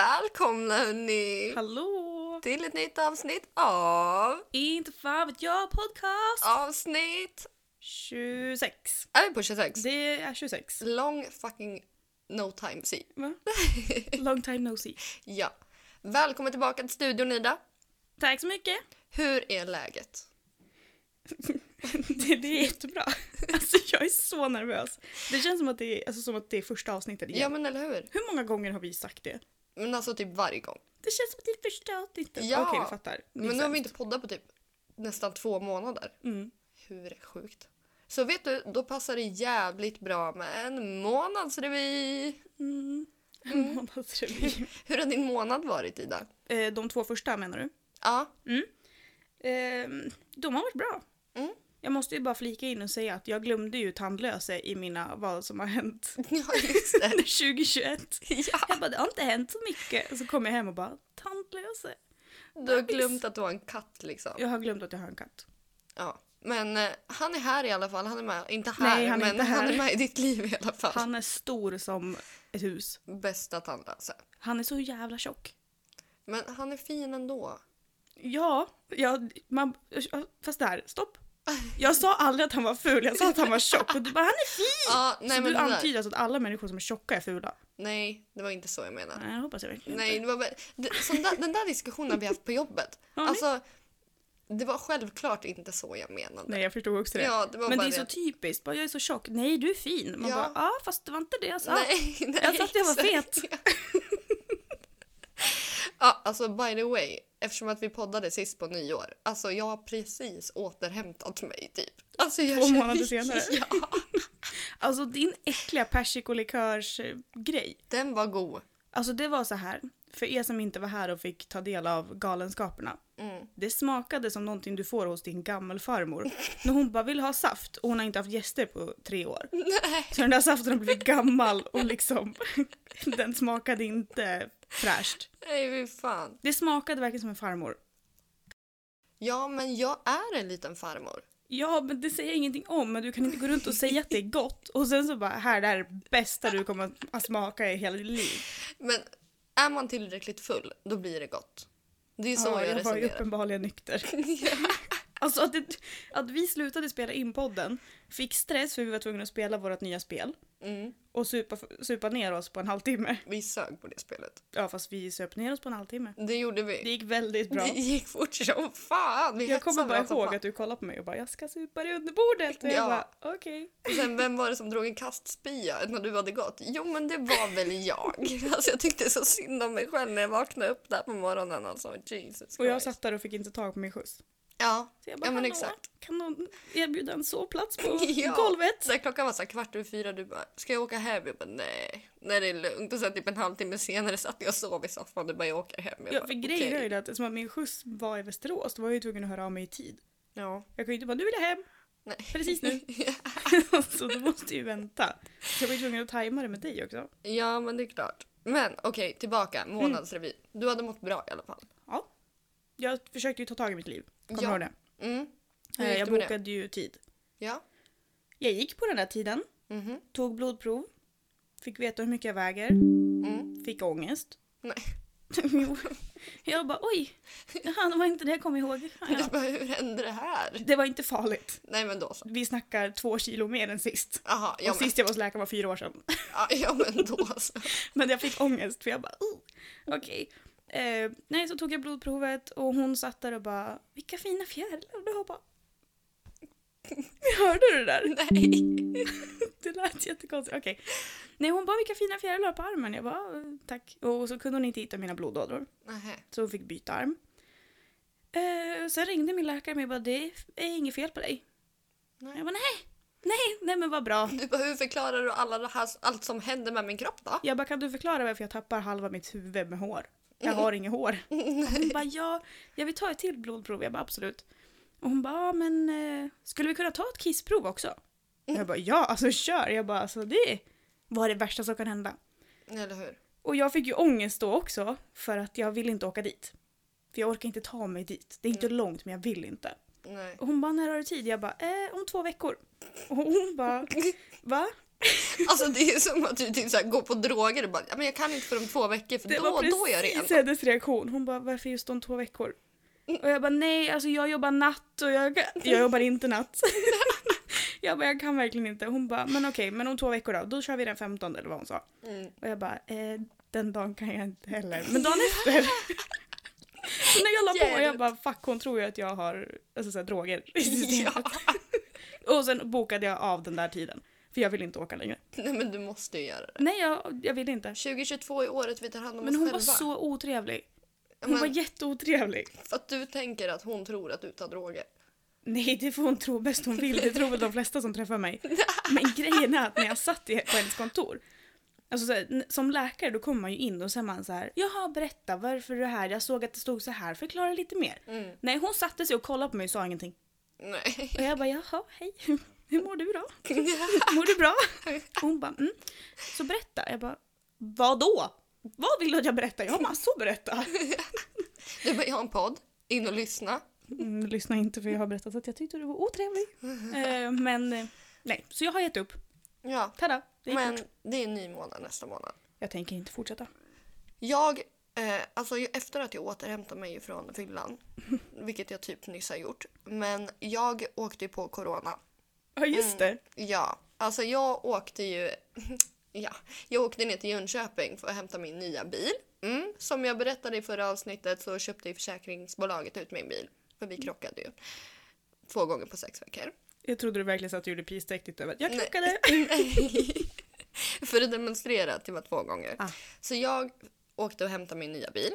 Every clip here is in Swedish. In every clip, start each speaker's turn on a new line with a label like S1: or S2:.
S1: Välkomna hörni
S2: Hallå!
S1: till ett nytt avsnitt av
S2: Inte fan vet jag podcast!
S1: avsnitt...
S2: 26.
S1: Är vi på 26?
S2: Det är 26.
S1: Long fucking no time see.
S2: Va? Long time no see.
S1: Ja. Välkommen tillbaka till studion Ida.
S2: Tack så mycket!
S1: Hur är läget?
S2: Det, det är jättebra. Alltså jag är så nervös. Det känns som att det är, alltså, som att det är första avsnittet
S1: Ja
S2: igen.
S1: men eller hur?
S2: Hur många gånger har vi sagt det?
S1: Men alltså typ varje gång.
S2: Det känns som att det är första avsnittet.
S1: Ja.
S2: Okej, vi fattar. Det är
S1: Men nu har vi
S2: sämst.
S1: inte poddat på typ nästan två månader.
S2: Mm.
S1: Hur sjukt? Så vet du, då passar det jävligt bra med en månadsrevy.
S2: Mm. En månadsrevy.
S1: Hur har din månad varit Ida?
S2: Eh, De två första menar du?
S1: Ja,
S2: Ehm, de har varit bra.
S1: Mm.
S2: Jag måste ju bara flika in och säga att jag glömde ju tandlösa i mina vad som har hänt
S1: ja just det.
S2: under 2021.
S1: Ja.
S2: Jag bara, det har inte hänt så mycket. Och så kom jag hem och bara, tandlösa.
S1: Du har glömt att du har en katt liksom.
S2: Jag har glömt att jag har en katt.
S1: Ja. Men eh, han är här i alla fall. Han är med. Inte här,
S2: Nej, han är
S1: men
S2: inte
S1: han
S2: här.
S1: är med i ditt liv i alla fall.
S2: Han är stor som ett hus.
S1: Bästa tandlösa.
S2: Han är så jävla tjock.
S1: Men han är fin ändå.
S2: Ja, jag, man, fast det här, stopp. Jag sa aldrig att han var ful, jag sa att han var tjock. Och du bara, han är fin!
S1: Ja, nej,
S2: så
S1: men
S2: du
S1: det där-
S2: antyder alltså att alla människor som är tjocka är fula?
S1: Nej, det var inte så jag menade.
S2: Nej, jag hoppas jag verkligen
S1: Nej,
S2: inte.
S1: det var väl... det- sån där, den där diskussionen har vi haft på jobbet.
S2: Har ni?
S1: Alltså, det var självklart inte så jag menade.
S2: Nej, jag förstod också det.
S1: Ja, det var
S2: Men det
S1: bara
S2: är så typiskt. Bara, jag är så tjock. Nej, du är fin. Man
S1: Ja.
S2: bara, ja, fast det var inte det jag sa.
S1: Nej, nej,
S2: jag sa att jag var
S1: exakt.
S2: fet.
S1: Ja, alltså by the way, eftersom att vi poddade sist på nyår. Alltså jag har precis återhämtat mig typ. Alltså, jag
S2: Två
S1: känner-
S2: månader senare.
S1: Ja,
S2: Alltså din äckliga persikolikörs-grej.
S1: den var god.
S2: Alltså det var så här, för er som inte var här och fick ta del av galenskaperna.
S1: Mm.
S2: Det smakade som någonting du får hos din gammelfarmor. När hon bara vill ha saft och hon har inte haft gäster på tre år. Så den där saften har blivit gammal och liksom den smakade inte fräscht.
S1: Nej, fy fan.
S2: Det smakade verkligen som en farmor.
S1: Ja, men jag är en liten farmor.
S2: Ja, men det säger jag ingenting om, men du kan inte gå runt och säga att det är gott och sen så bara här, det här är det bästa du kommer att smaka i hela ditt liv.
S1: Men är man tillräckligt full, då blir det gott. Det är så jag,
S2: ja, jag var ju
S1: resonerar.
S2: uppenbarligen nykter. Alltså att, det, att vi slutade spela in podden, fick stress för vi var tvungna att spela vårt nya spel
S1: Mm,
S2: och supa, supa ner oss på en halvtimme.
S1: vi sög på det spelet.
S2: Ja, fast vi söp ner oss på en halvtimme.
S1: Det gjorde vi.
S2: Det gick väldigt bra.
S1: Det gick fort som fan. Vi
S2: Jag kommer
S1: hetsade
S2: bara
S1: varandra som
S2: ihåg
S1: fan.
S2: att du kollade på mig och bara jag ska supa dig under bordet. Och jag
S1: Ja.
S2: bara okej.
S1: Och sen vem var det som drog en kastspya när du hade gått? Jo men det var väl jag. Alltså jag tyckte så synd om mig själv när jag vaknade upp där på morgonen alltså. Jesus
S2: Och jag
S1: Christ.
S2: satt där och fick inte tag på min skjuts.
S1: Ja,
S2: Så jag bara,
S1: Ja, men
S2: "Hallå,
S1: exakt.
S2: kan någon erbjuda en sovplats på
S1: Ja.
S2: golvet?
S1: så här, klockan var så här kvart över fyra du bara ska jag åka hem? Jag bara nej, nej det är lugnt. Och sen typ en halvtimme senare satt jag och sov i soffan du bara jag åker hem. Jag
S2: Ja,
S1: bara,
S2: för grejen
S1: "Okej."
S2: är ju det att eftersom att min skjuts var i Västerås då var jag ju tvungen att höra av mig i tid.
S1: Ja.
S2: Jag kan ju inte bara, nu vill jag hem!
S1: Nej.
S2: Precis nu. så du måste ju vänta. Så jag var ju tvungen att tajma det med dig också.
S1: ja men det är klart. Men okej tillbaka,
S2: Mm.
S1: månadsrevy. Du hade mått bra i alla fall.
S2: Ja. Jag försökte ju ta tag i mitt liv. Kommer
S1: Ja.
S2: du ihåg det?
S1: Mm. Hur gick
S2: Eh, Jag
S1: det med det?
S2: bokade ju tid.
S1: Ja.
S2: Jag gick på den där tiden,
S1: Mhm.
S2: tog blodprov, fick veta hur mycket jag väger,
S1: Mm.
S2: fick ångest.
S1: Nej.
S2: Jo. jag bara oj, Jaha, det var inte det jag kom ihåg. Ja, ja.
S1: Du bara, hur hände det här?
S2: Det var inte farligt.
S1: Nej men då så.
S2: Vi snackar två kilo mer än sist.
S1: Jaha, jag
S2: och sist jag var hos läkaren var fyra år sedan.
S1: Ja, ja men då alltså. så.
S2: Men jag fick ångest för jag bara oh, okej. Eh, nej, så tog jag blodprovet och hon satt där och bara vilka fina fjärilar du har bara. Hörde du det där?
S1: Nej.
S2: Det lät jättekonstigt. Okej. Nej, hon bara vilka fina fjärilar du har på armen. Jag bara "Eh, tack. Och så kunde hon inte hitta mina blodådror.
S1: Nähä.
S2: Så hon fick byta arm. Eh, sen ringde min läkare mig och bara det är inget fel på dig.
S1: Nej.
S2: Jag bara nej, nej, nej men vad bra.
S1: Du bara, hur förklarar du alla det här, allt som händer med min kropp då?
S2: Jag bara, kan du förklara varför jag tappar halva mitt huvud med hår? Jag har inget hår. Och hon bara, ja, jag vill ta ett till blodprov. Jag bara, absolut. Och hon bara, ja, men eh, skulle vi kunna ta ett kissprov också? Jag bara, ja, alltså kör. Jag bara, alltså det var det värsta som kan hända.
S1: Eller hur?
S2: Och jag fick ju ångest då också för att jag vill inte åka dit. För jag orkar inte ta mig dit. Det är inte långt men jag vill inte.
S1: Nej.
S2: Och hon bara, när har du tid? Jag bara, eh, om två veckor. Och hon bara, va?
S1: Alltså det är som att du typ så här går på droger och bara, ja, men jag kan inte för om två veckor för
S2: Det
S1: då,
S2: var
S1: då är jag ren.
S2: precis hennes reaktion. Hon bara, varför just om två veckor?
S1: Mm.
S2: Och jag bara, nej, alltså jag jobbar natt och jag, jag jobbar inte natt. jag bara, jag kan verkligen inte. Hon bara, men okej, men om två veckor då? Då kör vi den 15 eller vad hon sa.
S1: Mm.
S2: Och jag bara, eh, den dagen kan jag inte heller. Men dagen efter. Så när jag la på, jag
S1: Jävligt.
S2: bara, fuck hon tror ju att jag har alltså, så här, droger i systemet.
S1: Ja.
S2: Och sen bokade jag av den där tiden. För jag vill inte åka längre.
S1: Nej men du måste ju göra det.
S2: Nej, jag, jag vill inte.
S1: 2022 är året vi tar hand om
S2: Men
S1: oss
S2: hon
S1: själva.
S2: var så otrevlig. Hon
S1: Men-
S2: var jätteotrevlig.
S1: För att du tänker att hon tror att du tar droger.
S2: Nej, det får hon tro bäst hon vill. Det tror väl de flesta som träffar mig. Men grejen är att när jag satt i, på hennes kontor, alltså så här, n- som läkare då kommer man ju in och så är man så här, jaha berätta varför är du här, jag såg att det stod så här, förklara lite mer.
S1: Mm.
S2: Nej, hon satte sig och kollade på mig och sa ingenting.
S1: Nej.
S2: Och jag bara, jaha, hej, hur mår du då? Mår du bra? Och hon bara, mm. Så berätta. Jag bara, vad då? Vad vill du att jag berättar? Jag har massor att berätta.
S1: Du bara, jag har en podd. In och lyssna.
S2: Mm, lyssna inte för jag har berättat att jag tyckte du var otrevlig. Eh, men eh, nej, så jag har gett upp.
S1: Ja.
S2: Tada! Det gick
S1: Men
S2: fort.
S1: det är en ny månad nästa månad.
S2: Jag tänker inte fortsätta.
S1: Jag, eh, alltså ju- efter att jag återhämtade mig från fyllan, vilket jag typ nyss har gjort, men jag åkte ju på corona.
S2: Ja, just
S1: Mm.
S2: det.
S1: Ja, alltså jag åkte ju ja, jag åkte ner till Jönköping för att hämta min nya bil. Mm. Som jag berättade i förra avsnittet så köpte ju försäkringsbolaget ut min bil. För vi krockade ju två gånger på sex veckor.
S2: Jag trodde du verkligen satt och gjorde pisdräktigt över att jag
S1: Nej.
S2: krockade.
S1: för att demonstrera att det var två gånger.
S2: Ah.
S1: Så jag åkte och hämtade min nya bil.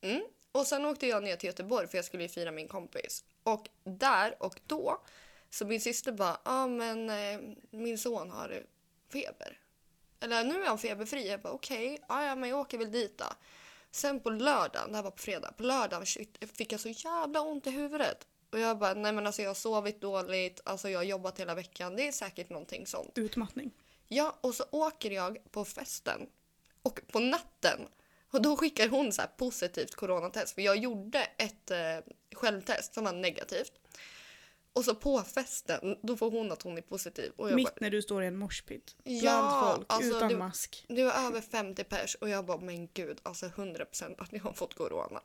S1: Mm. Och sen åkte jag ner till Göteborg för jag skulle ju fira min kompis. Och där och då så min syster bara, ja ah, men eh, min son har feber. Eller nu är han feberfri. Jag bara okej, ah, ja men jag åker väl dit då. Sen på lördagen, det här var på fredag, på lördagen shit, fick jag så jävla ont i huvudet. Och jag bara, nej men alltså jag har sovit dåligt, alltså jag har jobbat hela veckan, det är säkert någonting sånt.
S2: Utmattning.
S1: Ja, och så åker jag på festen och på natten. Och då skickar hon så här positivt coronatest för jag gjorde ett eh, självtest som var negativt. Och så på festen, då får hon att hon är positiv. Och jag bara,
S2: Mitt när du står i en morspitt. Bland
S1: Ja,
S2: folk,
S1: alltså,
S2: utan
S1: du-
S2: mask.
S1: det var över 50 pers och jag bara men gud alltså 100% att jag har fått corona.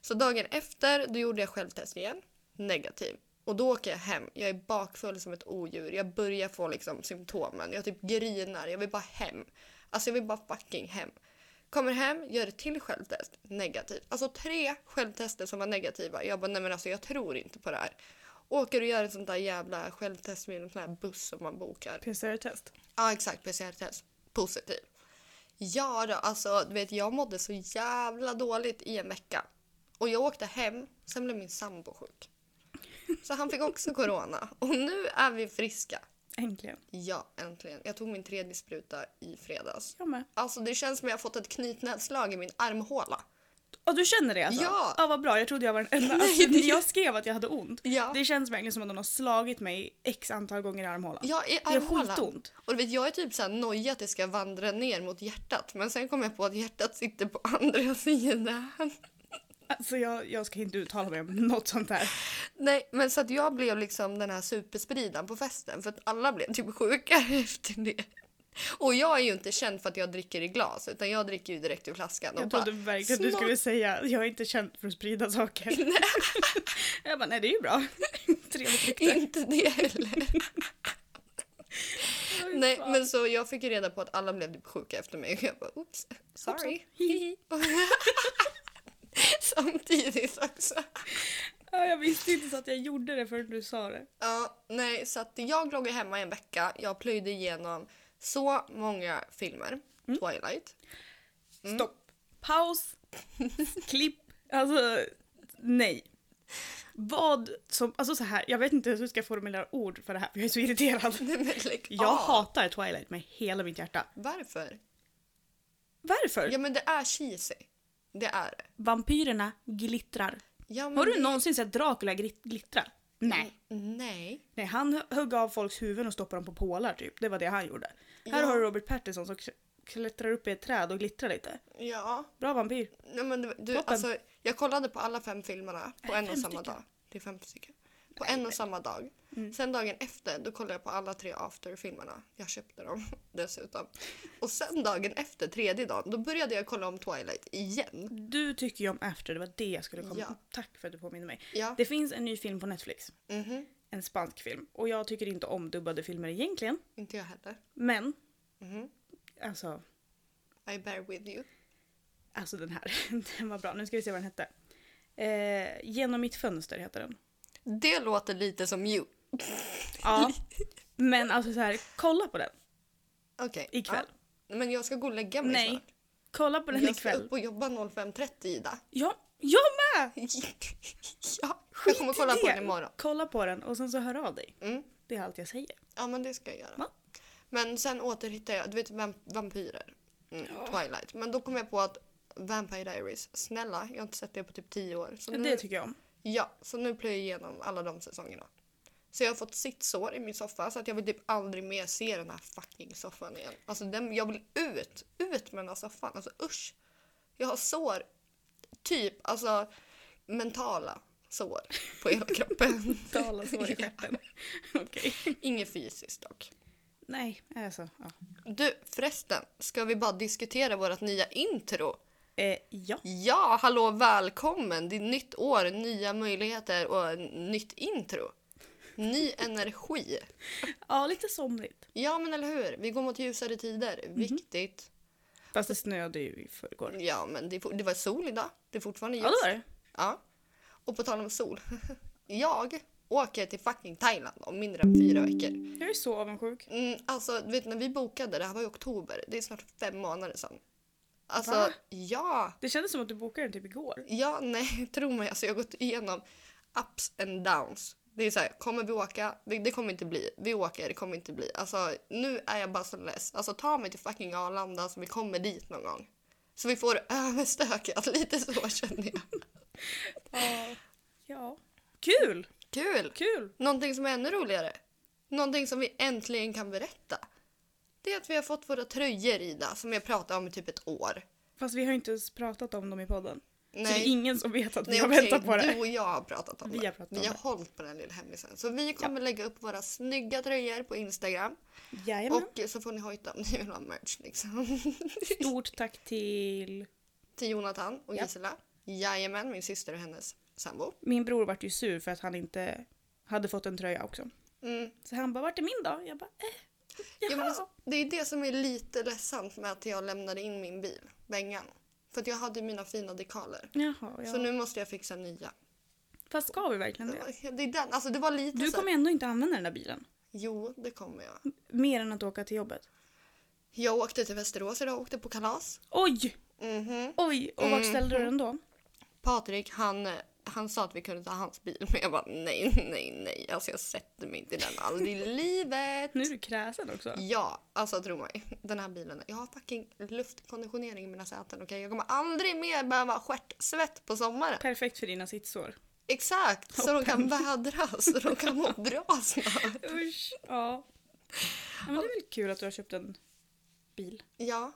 S1: Så dagen efter då gjorde jag självtest igen, negativ. Och då åker jag hem, jag är bakfull som ett odjur, jag börjar få liksom symptomen, jag typ grinar, jag vill bara hem. Alltså jag vill bara fucking hem. Kommer hem, gör ett till självtest, negativt. Alltså tre självtester som var negativa. Jag bara nej men alltså jag tror inte på det här. Åker och gör ett sånt där jävla självtest med en sån här buss som man bokar.
S2: PCR-test.
S1: Ja exakt, PCR-test. Positiv. Ja då, alltså du vet jag mådde så jävla dåligt i en vecka. Och jag åkte hem, sen blev min sambo sjuk. Så han fick också corona. Och nu är vi friska.
S2: Äntligen.
S1: Ja, äntligen. Jag tog min tredje spruta i fredags.
S2: Jag med.
S1: Alltså det känns som jag har fått ett knytnävsslag i min armhåla.
S2: Ja, du känner det alltså?
S1: Ja.
S2: ja! Vad bra, jag trodde jag var den enda. Alltså, när jag skrev att jag hade ont.
S1: Ja.
S2: Det känns verkligen som att någon har slagit mig x antal gånger i armhålan.
S1: Ja, i
S2: det är
S1: armhålan.
S2: skitont.
S1: Och du vet, jag är typ så här nojig att det ska vandra ner mot hjärtat. Men sen kom jag på att hjärtat sitter på andra sidan.
S2: Alltså jag, jag ska inte uttala mig om något sånt här.
S1: Nej, men så att jag blev liksom den här superspridaren på festen för att alla blev typ sjuka efter det. Och jag är ju inte känd för att jag dricker i glas utan jag dricker ju direkt ur flaskan. och
S2: Jag trodde
S1: bara,
S2: verkligen du
S1: "Snart
S2: skulle säga jag är inte känd för att sprida saker. jag bara, nej det är ju bra. Trevligt rykte.
S1: Inte det heller. Nej, men så jag fick ju reda på att alla blev typ sjuka efter mig och jag bara oops, sorry.
S2: Hihi.
S1: Samtidigt också.
S2: Ja, jag visste inte så att jag gjorde det förrän du sa det.
S1: Ja, nej, så att jag låg ju hemma i en vecka. Jag plöjde igenom så många filmer.
S2: Mm.
S1: Twilight. Mm.
S2: Stopp. Paus. Klipp. Alltså, nej. Vad som, alltså så här, jag vet inte hur jag ska formulera ord för det här för jag är så irriterad.
S1: Nej, men lägg
S2: Jag
S1: av.
S2: hatar Twilight med hela mitt hjärta.
S1: Ah, Varför?
S2: Varför?
S1: Ja men det är cheesy. Det är det.
S2: Vampyrerna glittrar.
S1: Ja, men
S2: Har du
S1: det- Mm,
S2: någonsin sett Dracula grit- glittra? Nej.
S1: Nej.
S2: Nej, han hö- högg av folks huvuden och stoppade dem på pålar typ. Det var det han gjorde. Här
S1: Ja.
S2: har du Robert Pattinson som kl- klättrar upp i ett träd och glittrar lite.
S1: Ja.
S2: Bra vampyr.
S1: Nej, men du, du,
S2: Toppen. Äh,
S1: alltså, jag kollade på alla fem filmerna på
S2: det
S1: en och
S2: fem
S1: samma
S2: stycken?
S1: dag. Det är fem stycken. På en och samma dag.
S2: Mm.
S1: Sen dagen efter då kollade jag på alla tre after-filmerna. Jag köpte dem dessutom. Och sen dagen efter, tredje dagen, då började jag kolla om Twilight igen.
S2: Du tycker ju om After, det var det jag skulle komma
S1: Ja.
S2: Tack för att du påminner mig.
S1: Ja.
S2: Det finns en ny film på Netflix.
S1: Mhm.
S2: En spansk film. Och jag tycker inte om dubbade filmer egentligen.
S1: Inte jag heller.
S2: Men,
S1: Mhm.
S2: alltså,
S1: I bear with you.
S2: alltså den här. Den var bra. Nu ska vi se vad den hette. Eh, Genom mitt fönster heter den.
S1: Det låter lite som you.
S2: Ja. Men alltså så här, kolla på den
S1: Okej.
S2: ikväll.
S1: Ja. Men jag ska gå och lägga mig
S2: Nej,
S1: snart.
S2: Kolla på den
S1: Jag ska
S2: ikväll.
S1: upp och jobba 05.30 Ida.
S2: Ja, jag med!
S1: ja, jag kommer
S2: Skit i
S1: kolla på
S2: det.
S1: den imorgon.
S2: Kolla på den och sen så hör av dig.
S1: Mm.
S2: Det är allt jag säger.
S1: Ja men det ska jag göra.
S2: Va?
S1: Men sen återhittar jag, du vet vamp- vampyrer. Mm, Twilight. Men då kom jag på att Vampire Diaries, snälla jag har inte sett det på typ 10 år. Så
S2: Det
S1: nu,
S2: tycker jag om.
S1: ja, så nu plöjer jag igenom alla de säsongerna. Så jag har fått sitt sår i min soffa så att jag vill typ aldrig mer se den här fucking soffan igen. Alltså den, jag vill ut, ut med den här soffan. Alltså usch. Jag har sår, typ alltså mentala sår på hela kroppen.
S2: Dala sår i stjärten. Okej.
S1: Inget fysiskt dock.
S2: Nej, alltså. Ja.
S1: Du, förresten, ska vi bara diskutera vårt nya intro?
S2: Eh, ja.
S1: Ja, hallå, välkommen! Det är nytt år, nya möjligheter och en nytt intro. Ny energi.
S2: ja, lite somrigt.
S1: Ja, men eller hur? Vi går mot ljusare tider.
S2: Mhm.
S1: Viktigt.
S2: Fast det snöade ju i förrgår.
S1: Ja, men det, är for- det var sol idag. Det är fortfarande ljus.
S2: Ja, det var det.
S1: Ja. Och på tal om sol. jag åker till fucking Thailand om mindre än fyra veckor.
S2: Jag är så avundsjuk.
S1: Mm, alltså, du vet när vi bokade, det här var i oktober. Det är snart fem månader sedan. Alltså,
S2: Va?
S1: ja.
S2: Det kändes som att du bokade den typ igår.
S1: Ja, nej, tro mig. Alltså, jag har gått igenom ups and downs. Det är så här, kommer vi åka? Det, det kommer inte bli. Vi åker, det kommer inte bli. Alltså, nu är jag bara så less. Alltså, ta mig till fucking Arlanda så vi kommer dit någon gång. Så vi får det överstökat. Lite så känner jag.
S2: Ja. ja. Kul!
S1: Kul!
S2: Kul!
S1: Någonting som är ännu roligare. Någonting som vi äntligen kan berätta. Det är att vi har fått våra tröjor, Ida, som jag pratade om i typ ett år.
S2: Fast vi har ju inte ens pratat om dem i podden. Så det är
S1: Nej,
S2: ingen som vet att vi
S1: nej
S2: har
S1: okej,
S2: väntat på det.
S1: du och jag har pratat om det.
S2: Vi har pratat om
S1: Vi har
S2: det.
S1: hållit på den lilla hemlisen. Så vi kommer lägga upp våra snygga tröjor på Instagram.
S2: Jajamän.
S1: Och så får ni hojta om ni vill ha merch liksom.
S2: Stort tack till...
S1: Till Jonathan och
S2: Ja.
S1: Gisela. Jajamän, min syster och hennes sambo.
S2: Min bror vart ju sur för att han inte hade fått en tröja också.
S1: Mm.
S2: Så han bara, vart är min då? Jag bara, eh.
S1: Ja, men
S2: Jaha.
S1: alltså, det är det som är lite ledsamt med att jag lämnade in min bil, Bengan. För att jag hade mina fina dekaler.
S2: Jaha, ja.
S1: Så nu måste jag fixa nya.
S2: Fast ska vi verkligen det?
S1: Det är den, alltså det var lite
S2: Du
S1: så här-
S2: kommer ändå inte använda den där bilen.
S1: Jo, det kommer jag.
S2: Mer än att åka till jobbet.
S1: Jag åkte till Västerås idag, åkte på kalas.
S2: Oj!
S1: Mhm.
S2: Oj! Och vart ställde du den då?
S1: Patrik, han, han sa att vi kunde ta hans bil, men jag bara nej, nej, nej. Alltså jag sätter mig inte i den aldrig i livet.
S2: Nu är du kräsen också.
S1: Ja, alltså tro mig. Den här bilen, jag har fucking luftkonditionering i mina säten, okej? Jag kommer aldrig mer behöva stjärtsvett på sommaren.
S2: Perfekt för dina sittsår.
S1: Exakt, så de kan vädras, så de kan må bra snart.
S2: Usch! Ja. ja. Men det är väl kul att du har köpt en bil.
S1: Ja,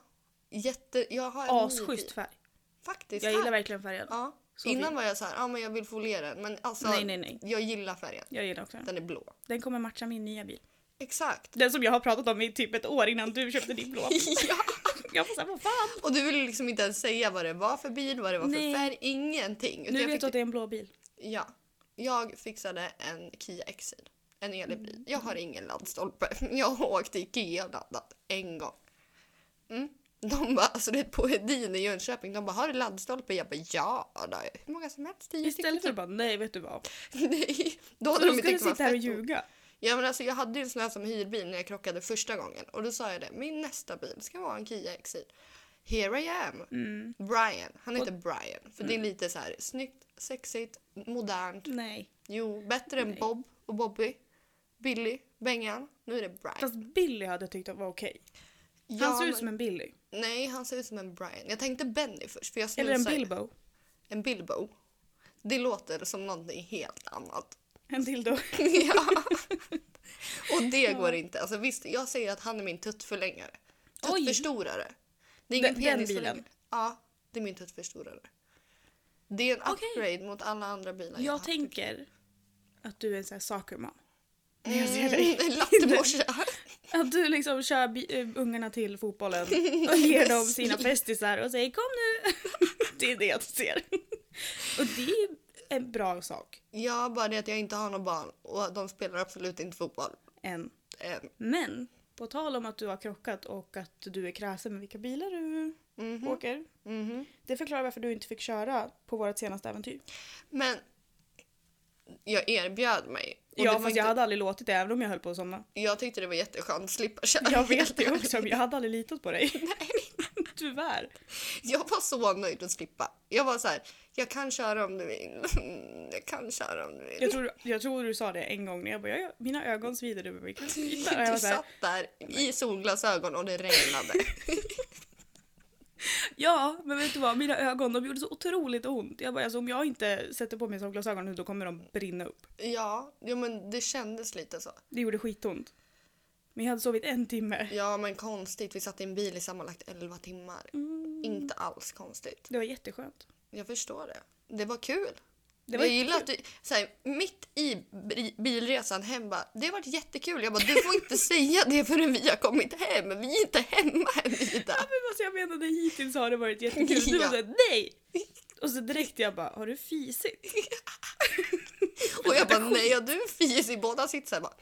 S1: jätte... Jag har en ny
S2: Asschysst
S1: bil.
S2: färg.
S1: Faktiskt.
S2: Jag gillar
S1: här.
S2: verkligen färgen.
S1: Ja.
S2: Så
S1: Innan
S2: fin.
S1: var jag så här, ja men jag vill foliera den, men alltså
S2: Nej, nej, nej.
S1: jag gillar färgen.
S2: Jag gillar också den.
S1: Den är blå.
S2: Den kommer matcha min nya bil.
S1: Exakt.
S2: Den som jag har pratat om i typ ett år innan du köpte din blå.
S1: ja.
S2: Jag får säga vad fan?
S1: Och du ville liksom inte ens säga vad det var för bil, vad det var
S2: Nej.
S1: för färg, ingenting. Utan
S2: Nu
S1: jag
S2: vet
S1: fick-
S2: du att det är en blå bil.
S1: Ja. Jag fixade en Kia Exil. En elbil. Jag har ingen laddstolpe. Jag har åkt till Ikea och laddat en gång. Mm. De bara, alltså det är på Hedin i Jönköping, de bara har du laddstolpe? Jag bara ja, då. hur många som helst. Tio
S2: Istället för
S1: stycken.
S2: att bara nej vet du vad.
S1: Nej, då
S2: Så
S1: hade
S2: då
S1: de ju
S2: ska du
S1: tyckt det var
S2: sitta här och
S1: fett
S2: ljuga.
S1: Ja men alltså jag hade ju en sån här som hyrbil när jag krockade första gången och då sa jag det, min nästa bil ska vara en Kia Exil. Here I am!
S2: Mm.
S1: Brian, han heter Brian för det är lite så här snyggt, sexigt, modernt.
S2: Nej.
S1: Jo, bättre än
S2: Nej.
S1: Bob och Bobby, Billy, Bengan. Nu är det Brian.
S2: Fast Billy hade jag tyckt att var okej.
S1: Ja,
S2: Han ser
S1: men-
S2: ut som en Billy.
S1: Nej, han ser ut som en Brian. Jag tänkte Benny först för jag
S2: Eller en
S1: snusar-
S2: Bilbo.
S1: En Bilbo. Det låter som någonting helt annat.
S2: En dildo.
S1: ja. Och det går inte. Alltså, visst, jag säger att han är min tuttförlängare.
S2: Oj.
S1: Tuttförstorare. Det är ingen
S2: Den- den
S1: penisförlängare.
S2: bilen?
S1: Ja, det är min tuttförtorare. Det är en
S2: Okej.
S1: upgrade mot alla andra bilar jag
S2: Jag
S1: haft.
S2: tänker att du är en sån här sakerman.
S1: När jag ser dig. Latteborsa.
S2: Att du liksom kör bi- eh, ungarna till fotbollen och ger dem sina festisar och säger kom nu. det är det jag ser. och det är en bra sak.
S1: Ja, bara det att jag inte har några barn och de spelar absolut inte fotboll. Ehm,
S2: Än.
S1: Än.
S2: Men på tal om att du har krockat och att du är kräsen med vilka bilar du
S1: Mhm.
S2: åker.
S1: Mhm.
S2: Det förklarar varför du inte fick köra på vårt senaste äventyr.
S1: Men jag erbjöd mig. Och det
S2: ja,
S1: var
S2: fast
S1: inte-
S2: jag hade aldrig låtit det även om jag höll på att somna.
S1: jag tyckte det var jätteskönt att slippa köra.
S2: Jag vet det också, men jag hade aldrig litat på dig. Tyvärr.
S1: Jag var så nöjd att slippa. Jag var så här, jag kan köra om du vill. Jag kan köra om du vill.
S2: Jag tror, jag tror du sa det en gång när jag bara, jag, mina ögon svider över mig. Och jag var
S1: Du
S2: så här,
S1: satt där i solglasögon och det regnade.
S2: Ja, men vet du vad? Mina ögon de gjorde så otroligt ont. Jag bara, alltså, om jag inte sätter på mig solglasögon nu då kommer de brinna upp.
S1: Ja, ja, men det kändes lite så.
S2: Det gjorde skitont. Men jag hade sovit en timme.
S1: Ja, men konstigt. Vi satt i en bil i sammanlagt 11 timmar.
S2: Mm.
S1: Inte alls konstigt.
S2: Det var jätteskönt.
S1: Jag förstår det. Det var kul.
S2: Det var
S1: jag gillar att du, så här, mitt i bri- bilresan hem bara, det har varit jättekul. Jag bara, du får inte säga det förrän vi har kommit hem. Vi är inte hemma än Ida.
S2: Ja, men alltså, jag menade hittills har det varit jättekul. Du var
S1: Ja.
S2: såhär, nej! Och så direkt jag bara, har du fisit?
S1: Och jag bara, nej har du fis i båda sitsen? Bara,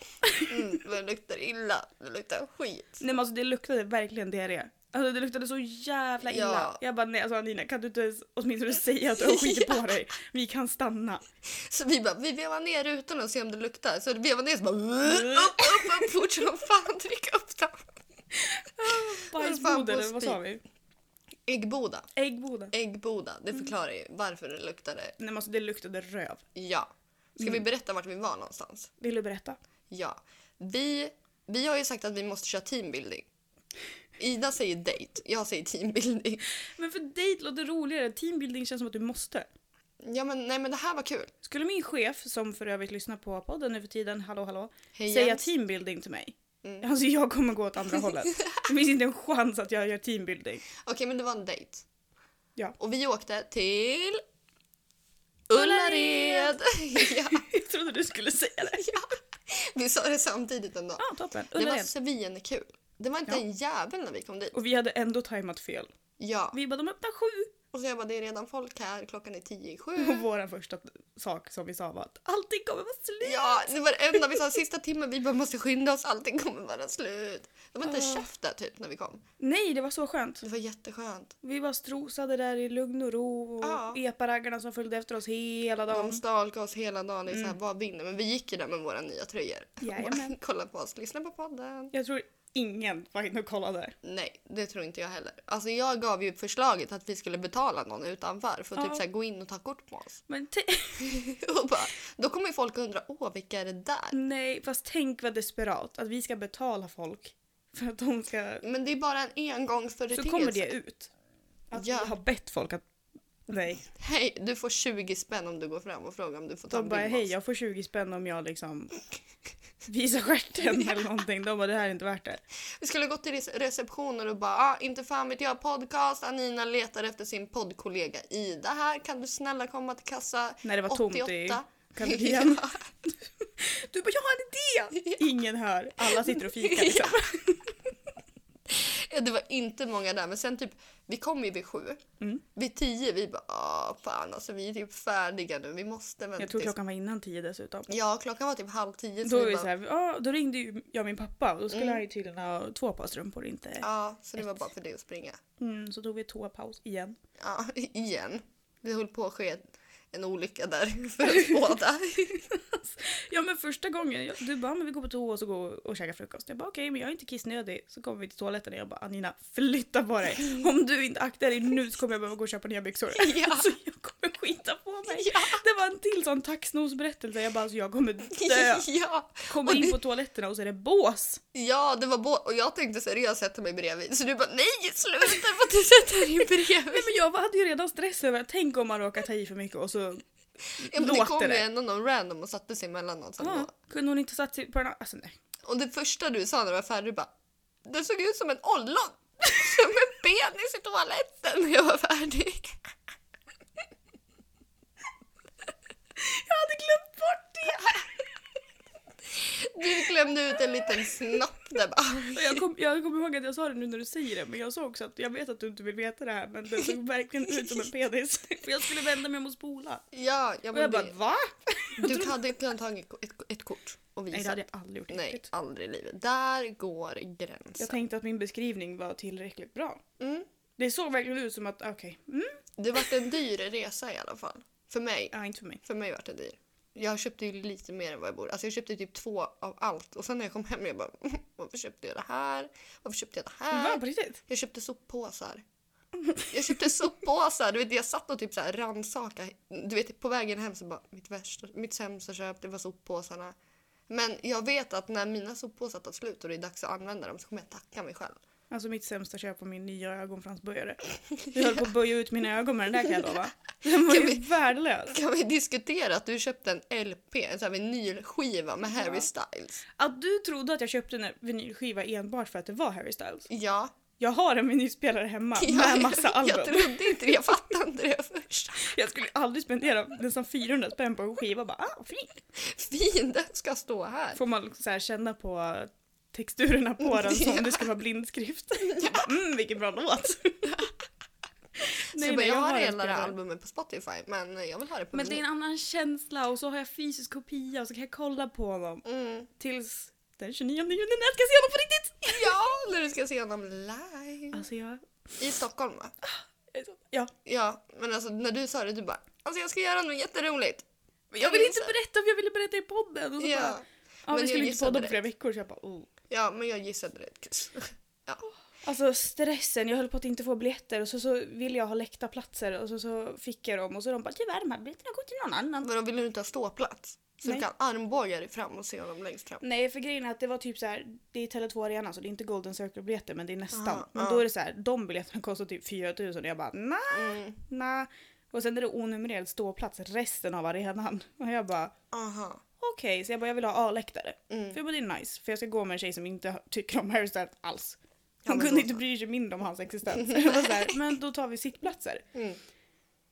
S1: mm, men det luktar illa, det luktar skit.
S2: Nej men alltså det luktade verkligen diarré. Alltså det luktade så jävla illa.
S1: Ja.
S2: Jag bara, nej alltså Anina kan du inte ens åtminstone säga att du har skitit på dig? Vi kan stanna.
S1: Så vi bara, vi vevar ner rutan och ser om det luktar. Så vi vevar ner så bara, upp, upp, upp, fort som fan, tryck upp den.
S2: Bajsbod eller vad sa vi?
S1: Äggboda,
S2: Äggboda.
S1: äggboda, det förklarar ju varför det luktade.
S2: Nej men alltså det luktade röv.
S1: Ja. Ska vi berätta vart vi var någonstans?
S2: Vill du berätta?
S1: Ja. Vi, vi har ju sagt att vi måste köra teambuilding. Ida säger date, jag säger teambuilding.
S2: Men för dejt låter roligare, teambuilding känns som att du måste.
S1: Ja men nej men det här var kul.
S2: Skulle min chef, som för övrigt lyssnar på podden nu för tiden, hallå hallå,
S1: Hej,
S2: säga
S1: Jens.
S2: teambuilding till mig?
S1: Mm.
S2: Alltså jag kommer gå åt andra hållet. Det finns inte en chans att jag gör teambuilding.
S1: Okej men det var en date.
S2: Ja.
S1: Och vi åkte till
S2: Ullared.
S1: Ullared! ja,
S2: Jag trodde du skulle säga det.
S1: vi sa det samtidigt ändå.
S2: Ja, ah, toppen.
S1: Det var
S2: Ullared.
S1: svinkul. Det var inte
S2: Ja.
S1: en jävel när vi kom dit.
S2: Och vi hade ändå tajmat fel.
S1: Ja.
S2: Vi bara, de öppnar sju.
S1: Och så jag bara, det är redan folk här, klockan är tio i
S2: Och
S1: sju.
S2: vår första sak som vi sa var att allting kommer vara slut.
S1: Ja, det var det enda vi sa sista timmen, vi bara måste skynda oss, allting kommer vara slut. De var inte en
S2: Ja.
S1: käft där typ när vi kom.
S2: Nej, det var så skönt.
S1: Det var jätteskönt.
S2: Vi var strosade där i lugn och ro. Och
S1: Ja.
S2: Eparaggarna som följde efter oss hela dagen.
S1: De stalkade oss hela dagen i så här, vad vinner? Men vi gick ju där med våra nya tröjor.
S2: Mm. Jajamän.
S1: Kolla på oss, lyssna på podden.
S2: Jag tror ingen var inne och kollade.
S1: Nej, det tror inte jag heller. Alltså jag gav ju förslaget att vi skulle betala någon utanför för att
S2: Ja.
S1: typ så här, gå in och ta kort på oss.
S2: Men te-
S1: Och bara, då kommer ju folk undra, åh vilka är det där?
S2: Nej, fast tänk vad desperat att vi ska betala folk för att de ska...
S1: Men det är bara en engångsföreteelse.
S2: Så kommer det ut. Att
S1: Ja.
S2: vi har bett folk att... Nej.
S1: Hej, du får 20 spänn om du går fram och frågar om du får ta
S2: De
S1: en bild
S2: bara,
S1: med
S2: hej
S1: oss."
S2: jag får 20 spänn om jag liksom visar stjärten eller någonting. De bara, det här är inte värt det.
S1: Vi skulle gå till rece- receptionen och bara, ah, inte fan vet jag, podcast, Anina letar efter sin poddkollega Ida här, kan du snälla komma till kassa
S2: När det var tomt i
S1: 88?
S2: kafeterian. Du bara, jag har en idé! Ingen hör. Alla sitter och fikar liksom.
S1: Ja, Eh, det var inte många där, men sen typ, vi kom ju vid sju.
S2: Mm.
S1: Vid tio, vi bara, ah, fan alltså vi är typ färdiga nu, vi måste vänta.
S2: Jag tror
S1: tills-"
S2: klockan var innan tio dessutom.
S1: Ja, klockan var typ halv tio.
S2: Då,
S1: vi
S2: är vi
S1: bara,
S2: så här, ja, då ringde ju jag min pappa och då skulle
S1: Mm.
S2: han ju tydligen ha två par strumpor inte.
S1: Ja, så det var bara för dig att springa.
S2: Mm, så tog vi toapaus igen.
S1: Ja, igen. Det höll på att ske en olycka där för oss båda.
S2: Ja men första gången, jag, du bara "Ah, men vi går på toa och så går och käkar frukost. Jag bara okej men jag är inte kissnödig. Så kommer vi till toaletten och jag bara Anina flytta på dig. Om du inte aktar dig nu så kommer jag behöva gå och köpa nya byxor.
S1: Ja.
S2: Alltså jag kommer skita på mig.
S1: Ja.
S2: Det var en till sån taxnosberättelse. Jag bara alltså jag kommer dö.
S1: ja.
S2: Kommer in på toaletterna och så är det bås.
S1: ja, det var båda. Och jag tänkte seriöst sätta mig bredvid. Så du bara, nej sluta, du får inte sätta dig
S2: Nej
S1: bredvid.
S2: men jag hade ju redan stress över att tänk om man råkar ta i för mycket och så
S1: Ja, men det
S2: låter
S1: kom ju
S2: det. Ah.
S1: ändå någon random och satte sig mellan oss ändå.
S2: ja, kunde hon inte satt sig på den här- Alltså nej.
S1: Och det första du sa när du var färdig, du bara Det såg ut som en ollon! Som en penis i toaletten när jag var färdig.
S2: Jag hade glömt bort det!
S1: Du klämde ut en liten snopp där bara.
S2: Och Jag kommer jag kom ihåg att jag sa det nu när du säger det, men jag sa också att jag vet att du inte vill veta det här, men det såg verkligen ut som en penis. För jag skulle vända mig om och spola.
S1: Ja, ja
S2: Och jag
S1: men
S2: bara,
S1: det,
S2: va?
S1: du hade kunnat ta ett, ett, ett kort och visa.
S2: Nej, det hade jag aldrig gjort.
S1: Nej,
S2: riktigt.
S1: aldrig i livet. Där går
S2: Jag
S1: gränsen.
S2: tänkte att min beskrivning var tillräckligt bra.
S1: Mm.
S2: Det såg verkligen ut som att, okej, mm,
S1: Det vart en dyr resa i alla fall. För mig.
S2: ja, inte för mig.
S1: För mig vart det dyr. Jag köpte ju lite mer än vad jag borde. Alltså jag köpte typ två av allt. Och sen när jag kom hem jag bara "Mm, varför köpte jag det här? Varför köpte jag det här?
S2: Va, på riktigt?
S1: Jag köpte soppåsar. Jag köpte soppåsar. Du vet, jag satt och typ så här rannsakade. Du vet, på vägen hem så bara, mitt, värsta, mitt sämsta köp, det var soppåsarna. Men jag vet att när mina soppåsar tar slut och det är dags att använda dem så kommer jag tacka mig själv.
S2: Alltså mitt sämsta köp var min nya ögonfransböjare. Jag höll på att böja ut mina ögon med den där kan jag lova. Den var ju värdelös.
S1: Kan vi diskutera att du köpte en LP, en sån här vinylskiva med Harry
S2: Ja.
S1: Styles?
S2: Att du trodde att jag köpte en vinylskiva enbart för att det var Harry Styles.
S1: Ja.
S2: Jag har en vinylspelare hemma med massa album.
S1: Jag trodde inte det, jag fattade inte det först.
S2: Jag skulle aldrig spendera nästan 400 spänn på en skiva bara ah, fint.
S1: Fin, den ska stå här.
S2: Får man liksom så här känna på texturerna på den som om det skulle vara blindskrift. Jag bara, Mm, vilken bra låt.
S1: så jag, bara, jag har
S2: en
S1: hela det här
S2: spelare.
S1: albumet på Spotify men jag vill ha det på
S2: Men det är
S1: vinyl.
S2: en annan känsla och så har jag fysisk kopia och så kan jag kolla på honom
S1: Mm.
S2: tills den 29 juni när jag ska se honom på riktigt.
S1: Ja, när du ska se honom live.
S2: Alltså jag...
S1: I Stockholm va?
S2: jag är så- Ja.
S1: Ja, men alltså när du sa det du bara Alltså jag ska göra något jätteroligt.
S2: Men jag
S1: Jag
S2: vill
S1: minns
S2: inte
S1: det.
S2: berätta för jag ville berätta i podden. Och så bara,
S1: Ja,
S2: Ja,
S1: Men
S2: vi
S1: jag
S2: skulle inte
S1: gissade
S2: podda på
S1: rätt.
S2: flera veckor så jag bara oh.
S1: ja men jag gissade rätt.
S2: Alltså stressen, jag höll på att inte få biljetter och så, så ville jag ha läktarplatser och så, så fick jag dem och så de bara tyvärr de här biljetterna går till någon annan.
S1: Men de ville ju inte ha ståplats. Så
S2: Nej.
S1: du kan armbåga dig fram och se honom längst fram.
S2: Nej för grejen är att det var typ så här, det är Tele2 Arena så det är inte Golden Circle biljetter men det är nästan.
S1: Aha,
S2: men
S1: ja.
S2: då är det så här, de biljetterna kostar typ 4000 och jag bara na
S1: Mm.
S2: na. Och sen är det onumrerad ståplats resten av arenan. Och jag bara
S1: Aha.
S2: okej, så jag bara jag vill ha A-läktare.
S1: Mm.
S2: För jag bara det är nice, för jag ska gå med en tjej som inte tycker om Harry Styles alls.
S1: Ja,
S2: Hon
S1: men
S2: kunde
S1: då
S2: inte bry sig mindre om hans existens. Jag var så här, men då tar vi sittplatser.
S1: Mm.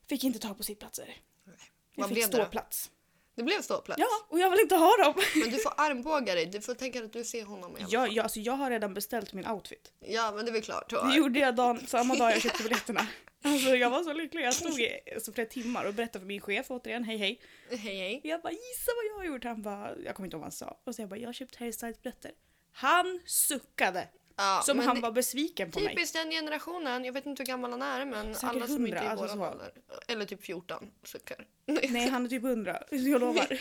S2: Fick inte tag på sittplatser. Jag
S1: Vad
S2: fick
S1: blev det då?
S2: ståplats.
S1: Det blev ståplats.
S2: Ja, och jag vill inte ha dem.
S1: Men du får armbåga dig. Du får tänka att du ser honom igen.
S2: Jag, jag, alltså, jag har redan beställt min outfit.
S1: Ja men det är väl klart. då.
S2: Det gjorde jag dagen, samma dag jag köpte biljetterna. Alltså, jag var så lycklig. Jag stod i alltså, flera timmar och berättade för min chef återigen, hej hej.
S1: Hej hej.
S2: Jag bara gissa vad jag har gjort. Han bara, jag kommer inte ihåg vad han sa. Och så jag bara, jag har köpt Harry Styles biljetter. Han suckade.
S1: Ja,
S2: Som
S1: men
S2: han
S1: det-
S2: var besviken på mig.
S1: Typiskt den generationen. Jag vet inte hur gammal han är men
S2: Säkert
S1: alla som inte
S2: 100,
S1: är i
S2: alltså
S1: våran
S2: så.
S1: ålder. Eller typ 14 suckar.
S2: Nej, han är typ hundra. Jag lovar.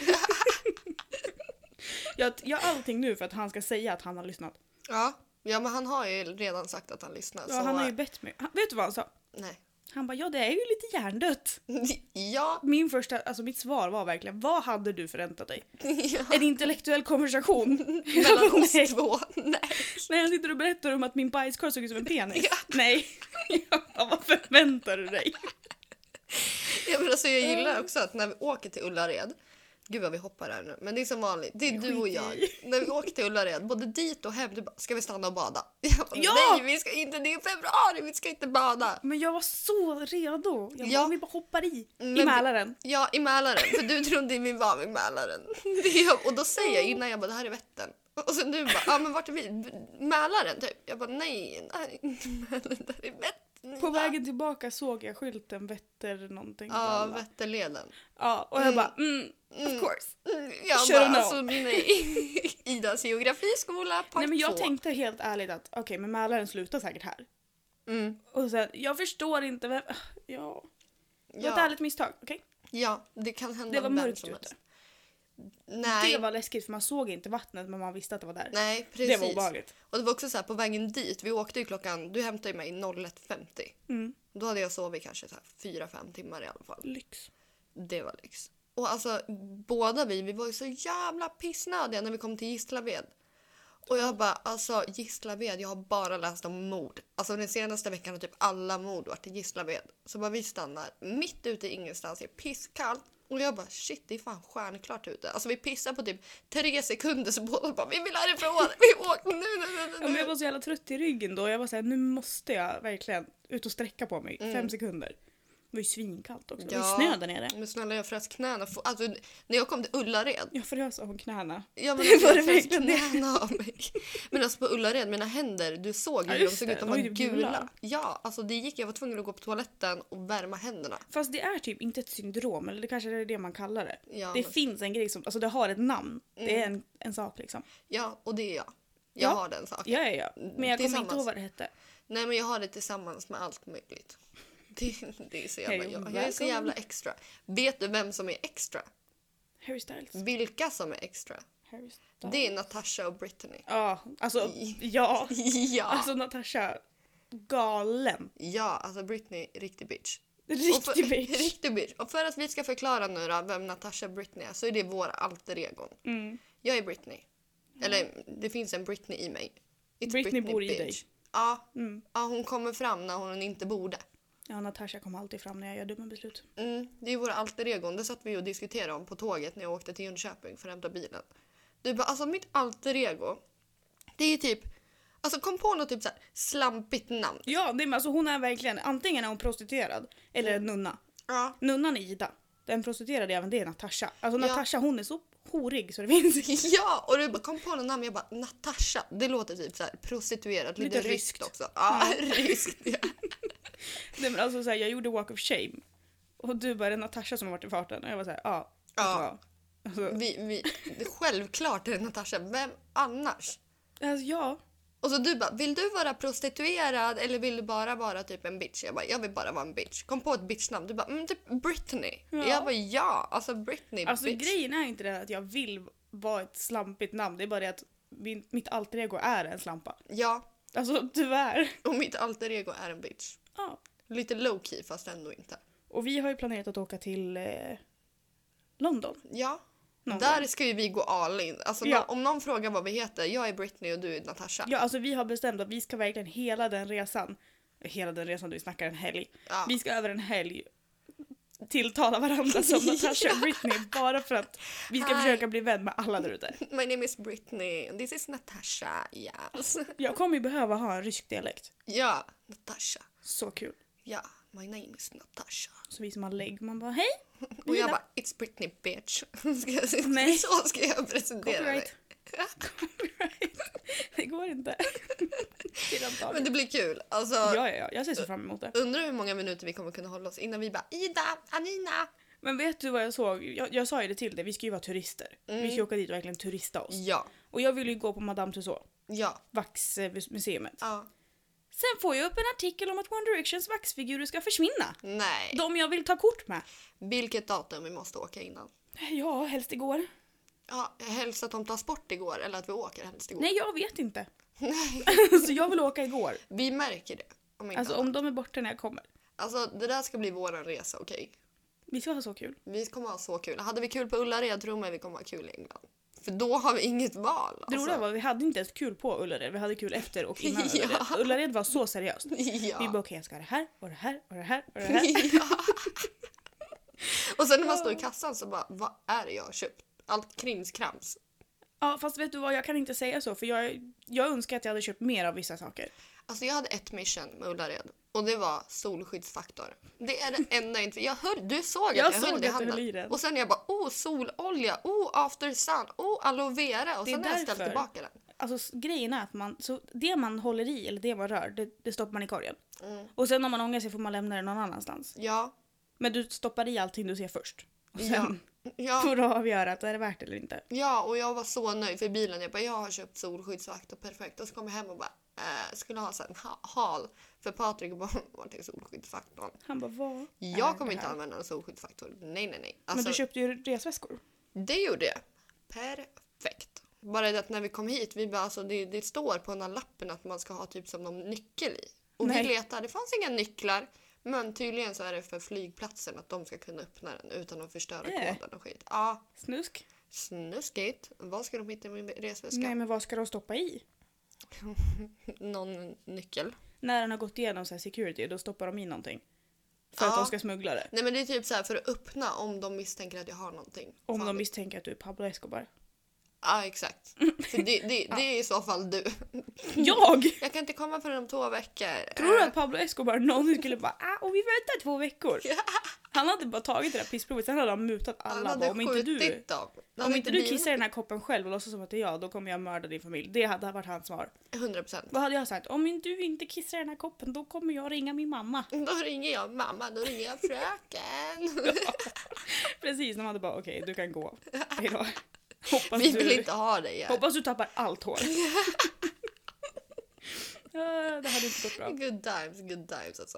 S2: jag gör allting nu för att han ska säga att han har lyssnat.
S1: Ja. ja men han har ju redan sagt att han lyssnar.
S2: Ja,
S1: så
S2: han har ju bett mig. Han, vet du vad han sa?
S1: Nej.
S2: Han bara, ja det är ju lite hjärndött.
S1: Ja.
S2: Min första, alltså mitt svar var verkligen, vad hade du förväntat dig? En intellektuell konversation. Jag bara,
S1: Mellan oss
S2: nej.
S1: två. Nej.
S2: När jag sitter och berättar om att min bajskorv såg ut som en penis.
S1: Ja.
S2: Nej. Jag bara, vad förväntar du dig?
S1: Ja, men alltså, jag gillar också att när vi åker till Ullared Gud vad vi hoppar här nu. Men det är som vanligt. Det är
S2: Jag
S1: du och
S2: skiter
S1: jag.
S2: i.
S1: När vi åker till Ullared, både dit och hem, du bara “ska vi stanna och bada?” jag bara,
S2: Ja!
S1: Nej, vi ska inte. Det är februari, vi ska inte bada.
S2: Men jag var så redo. Jag bara,
S1: Ja. Mm,
S2: om vi bara hoppar i. I
S1: Men-
S2: Mälaren.
S1: Ja, i Mälaren. För du trodde vi var vid Mälaren. Det är jag- Och då säger jag innan, jag bara “det här är Vättern”. Och sen du bara “ja men vart är vi?” “Mälaren” typ. Jag bara “nej, nej, inte Mälaren, där är Vättern”.
S2: På vägen tillbaka såg jag skylten Vätter någonting.
S1: Ja,
S2: bla, bla.
S1: Vätternleden.
S2: ja och jag
S1: Mm.
S2: bara mm,
S1: Mm.
S2: of course.
S1: Mm, Jag
S2: Kör
S1: bara,
S2: hon av?
S1: alltså nej. Idas geografiskola part
S2: Nej men jag
S1: två.
S2: tänkte helt ärligt att okej men Mälaren slutar säkert här.
S1: Mm,
S2: Och sen jag förstår inte vem, ah, ja. Det var ett
S1: ja,
S2: ärligt misstag, okej?
S1: ja, det kan hända
S2: Det var
S1: vem
S2: mörkt
S1: som helst.
S2: ute.
S1: Nej,
S2: Det var läskigt för man såg inte vattnet men man visste att det var där.
S1: nej,
S2: det
S1: precis.
S2: var obehagligt.
S1: och det var också så här på vägen dit, vi åkte ju klockan, du hämtade ju mig 01.50.
S2: Mm.
S1: Då hade jag sovit kanske 4-5 timmar i alla fall.
S2: Lyx.
S1: Det var lyx. Och alltså båda vi, vi var ju så jävla pissnödiga när vi kom till Gislaved. Och jag bara, alltså Gislaved, jag har bara läst om mord. Alltså den senaste veckan har typ alla mord varit i Gislaved. Så bara vi stannar mitt ute i ingenstans, det är pisskallt. Och jag bara shit det är fan stjärnklart ute. Alltså vi pissar på typ tre sekunder så båda bara vi vill härifrån, vi åker nu nu
S2: Ja,
S1: nu
S2: men
S1: nu.
S2: jag
S1: nu.
S2: var så jävla trött i ryggen då jag var såhär nu måste jag verkligen ut och sträcka på mig. Fem sekunder. var ju svinkallt också. Det
S1: Mm. Ja.
S2: var ju snö där nere.
S1: Men snälla jag frös knäna. Få- Alltså, när jag kom till Ullared.
S2: Jag frös av knäna.
S1: Ja, men
S2: Det
S1: alltså,
S2: var
S1: jag
S2: det
S1: frös
S2: verkligen det.
S1: knäna av mig. Men alltså på Ullared, mina händer, du såg ju
S2: Ja,
S1: hur de
S2: just
S1: såg
S2: det.
S1: ut. De
S2: De
S1: var
S2: var ju
S1: gula.
S2: gula.
S1: Ja, alltså det gick. Jag var tvungen att gå på toaletten och värma händerna.
S2: Fast det är typ inte ett syndrom, eller det kanske är det man kallar det.
S1: Ja,
S2: det
S1: men- Mm.
S2: finns en grej som, alltså det har ett namn. Det är en, en sak liksom.
S1: Ja, och det är jag. Jag
S2: Ja.
S1: har den saken.
S2: Ja, ja, ja.
S1: Mm,
S2: Men jag kommer
S1: Tillsammans.
S2: inte ihåg vad det hette.
S1: Nej men jag har det tillsammans med allt möjligt. Det, det är så jävla
S2: Hej,
S1: jag. Jag är så
S2: välkommen.
S1: jävla extra. Vet du vem som är extra?
S2: Harry Styles.
S1: Vilka som är extra?
S2: Harry Styles.
S1: Mm. Det är Natasha och Britney.
S2: Ja, alltså ja.
S1: Ja!
S2: Alltså Natasha, galen.
S1: Ja, alltså Britney, riktig bitch. Och för-
S2: Riktig bitch.
S1: riktig bitch. Och för att vi ska förklara nu då vem Natasha Britney är så är det våra alter egon.
S2: Mm.
S1: Jag är Britney. Eller det finns en Britney i mig. It's
S2: Britney bor i
S1: bitch.
S2: dig.
S1: Ja.
S2: Mm.
S1: ja, hon kommer fram när hon inte borde.
S2: Ja, Natasha kommer alltid fram när jag gör dumma beslut.
S1: Mm, det är våra alter egon. Det satt vi och diskuterade om på tåget när jag åkte till Jönköping för att hämta bilen. Du bara, alltså mitt alter ego, det är typ, alltså kom på något typ så här slampigt namn.
S2: Ja, det, men alltså hon är verkligen, antingen är hon prostituerad eller en nunna.
S1: Ja.
S2: Nunnan är Ida. Den prostituerade även det är Natasha. Alltså
S1: Ja.
S2: Natasha hon är så horig så det finns inte.
S1: Ja, och du bara kom på något namn, jag bara Natasha. Det låter typ så här prostituerat, lite,
S2: Lite
S1: ryskt
S2: ryskt.
S1: också. Ja, ryskt. Ja.
S2: Nej men alltså så här, jag gjorde walk of shame. Och du bara, är det Natasha som har varit i farten? Och jag var såhär, ja. vet du
S1: Ja.
S2: vad? Alltså,
S1: Vi, vi, det är självklart är det Natasha, vem annars?
S2: alltså ja.
S1: Och så du bara, vill du vara prostituerad eller vill du bara vara typ en bitch? Jag bara, jag vill bara vara en bitch. Kom på ett bitchnamn. Du bara, mm, typ Britney.
S2: Ja.
S1: Jag bara, ja, alltså Britney,
S2: Alltså
S1: bitch.
S2: grejen är inte det att jag vill vara ett slampigt namn. Det är bara det att min, mitt alter ego är en slampa.
S1: Ja,
S2: Alltså tyvärr.
S1: och mitt alter ego är en bitch.
S2: Ja.
S1: Lite low key fast ändå inte.
S2: Och vi har ju planerat att åka till eh, London.
S1: Ja.
S2: Någon
S1: Där ska ju vi gå all in. Alltså,
S2: Ja.
S1: nå- om någon frågar vad vi heter, jag är Britney och du är Natasha.
S2: Ja, alltså vi har bestämt att vi ska verkligen hela den resan, hela den resan, vi snackar en helg.
S1: Ja.
S2: Vi ska över en helg tilltala varandra som Natasha och Britney bara för att vi ska
S1: Hi.
S2: försöka bli vän med alla där ute.
S1: My name is Britney, and this is Natasha, yes.
S2: Jag kommer ju behöva ha en rysk dialekt.
S1: ja, Natasha.
S2: Så kul.
S1: Ja, my name is Natasha.
S2: Så vi som har lägg, man bara hej!
S1: Och jag
S2: Lina.
S1: bara, it's Britney bitch. Ska jag,
S2: Nej.
S1: Så ska jag presentera mig.
S2: Copyright. Copyright. Det går inte. Det är de
S1: Men
S2: dagarna.
S1: det blir kul. Alltså,
S2: Ja, ja, ja, jag ser så fram emot det.
S1: Undrar hur många minuter vi kommer kunna hålla oss innan vi bara Ida, Anina.
S2: Men vet du vad jag såg? Jag, jag sa ju det till dig, vi ska ju vara turister. Vi
S1: Mm.
S2: ska ju åka dit och verkligen turista oss.
S1: Ja,
S2: Och jag vill ju gå på Madame Tussauds,
S1: ja,
S2: vaxmuseet.
S1: ja.
S2: Sen får jag upp en artikel om att One Directions vaxfigurer ska försvinna.
S1: Nej.
S2: De jag vill ta kort med.
S1: Vilket datum vi måste åka innan.
S2: Ja, helst igår.
S1: Ja, helst att de tas bort igår eller att vi åker helst igår.
S2: Nej, jag vet inte. så jag vill åka igår.
S1: Vi märker det. Om inte
S2: Alltså
S1: annat.
S2: om de är borta när jag kommer.
S1: alltså det där ska bli våran resa, okej?
S2: Vi ska ha så kul.
S1: Vi kommer ha så kul. Hade vi kul på Ullared tror man vi kommer ha kul i England. För då har vi inget val.
S2: Det
S1: alltså.
S2: roliga var att vi hade inte ens kul på Ullared, vi hade kul efter och innan
S1: Ja.
S2: Ullared. Ullared var så seriöst.
S1: Ja.
S2: Vi bara okej jag ska ha det här och det här och det här och det här.
S1: Ja. Och sen när man står i kassan så bara, vad är det jag har köpt? Allt krimskrams.
S2: Ja fast vet du vad, jag kan inte säga så för jag, jag önskar att jag hade köpt mer av vissa saker.
S1: Alltså jag hade ett mission med Ullared och det var solskyddsfaktor. Det är det enda jag inte... Jag höll, du såg att jag,
S2: Jag såg
S1: höll det i
S2: att du höll
S1: handen.
S2: i den.
S1: Och sen jag bara oh sololja, oh after sun, oh aloe vera och
S2: Det är
S1: sen har jag ställt
S2: därför.
S1: tillbaka den.
S2: Alltså s- grejen är att man, så det man håller i eller det man rör, det, det stoppar man i korgen.
S1: Mm.
S2: Och sen om man ångrar sig får man lämna det någon annanstans.
S1: Ja,
S2: Men du stoppar i allting du ser först. Och
S1: ja,
S2: sen
S1: ja,
S2: får du avgöra att är det värt eller inte.
S1: ja och jag var så nöjd för bilen. Jag bara jag har köpt solskyddsfaktor perfekt och så kom jag hem och bara eh, skulle ha så här en ha- hal för Patrik och bara vart är solskyddsfaktorn?
S2: Han bara vad är
S1: Jag
S2: det
S1: kommer inte
S2: här?"
S1: använda en solskyddsfaktor. Nej nej nej.
S2: Men
S1: Alltså,
S2: du köpte ju resväskor.
S1: Det gjorde jag. Perfekt. Bara det att när vi kom hit, vi bara, alltså, det, det står på den här lappen att man ska ha typ som någon nyckel i. Och vi
S2: Nej.
S1: letar, det fanns inga nycklar. Men tydligen så är det för flygplatsen att de ska kunna öppna den utan att förstöra
S2: Äh.
S1: koden och skit. Ja,
S2: Snusk.
S1: snuskigt. Vad ska de hitta i min resväska?
S2: Nej men vad ska de stoppa i?
S1: Någon nyckel.
S2: när den har gått igenom så här security, då stoppar de in någonting. För att
S1: Ja.
S2: de ska smuggla det.
S1: Nej men det är typ så här för att öppna om de misstänker att jag har någonting.
S2: Om
S1: Fan,
S2: de misstänker att du är Pablo Escobar.
S1: Ja, exakt. Så det, det, det är i så fall du.
S2: Jag!
S1: Jag kan inte komma förrän om två veckor.
S2: Tror du
S1: Eh,
S2: att Pablo Escobar någonsin skulle bara ah, och vi väntar två veckor? Han hade bara tagit det där pissprovet, sen hade han mutat alla.
S1: han
S2: bara,
S1: hade
S2: om inte du,
S1: skjutit dem. Det
S2: om
S1: hade
S2: inte du
S1: blivit
S2: kissar i den här koppen själv och låtsas som att det är jag, då kommer jag mörda din familj. Det hade varit hans svar.
S1: 100 procent.
S2: Vad hade jag sagt? Om inte du inte kissar i den här koppen, då kommer jag ringa min mamma.
S1: Då ringer jag mamma, då ringer jag fröken.
S2: Precis, de hade bara okej, du kan gå. Hejdå. Hoppas
S1: Vi
S2: du...
S1: vill inte ha dig här.
S2: Hoppas du tappar allt hår. Ah, det hade inte gått bra.
S1: Good times, good times alltså.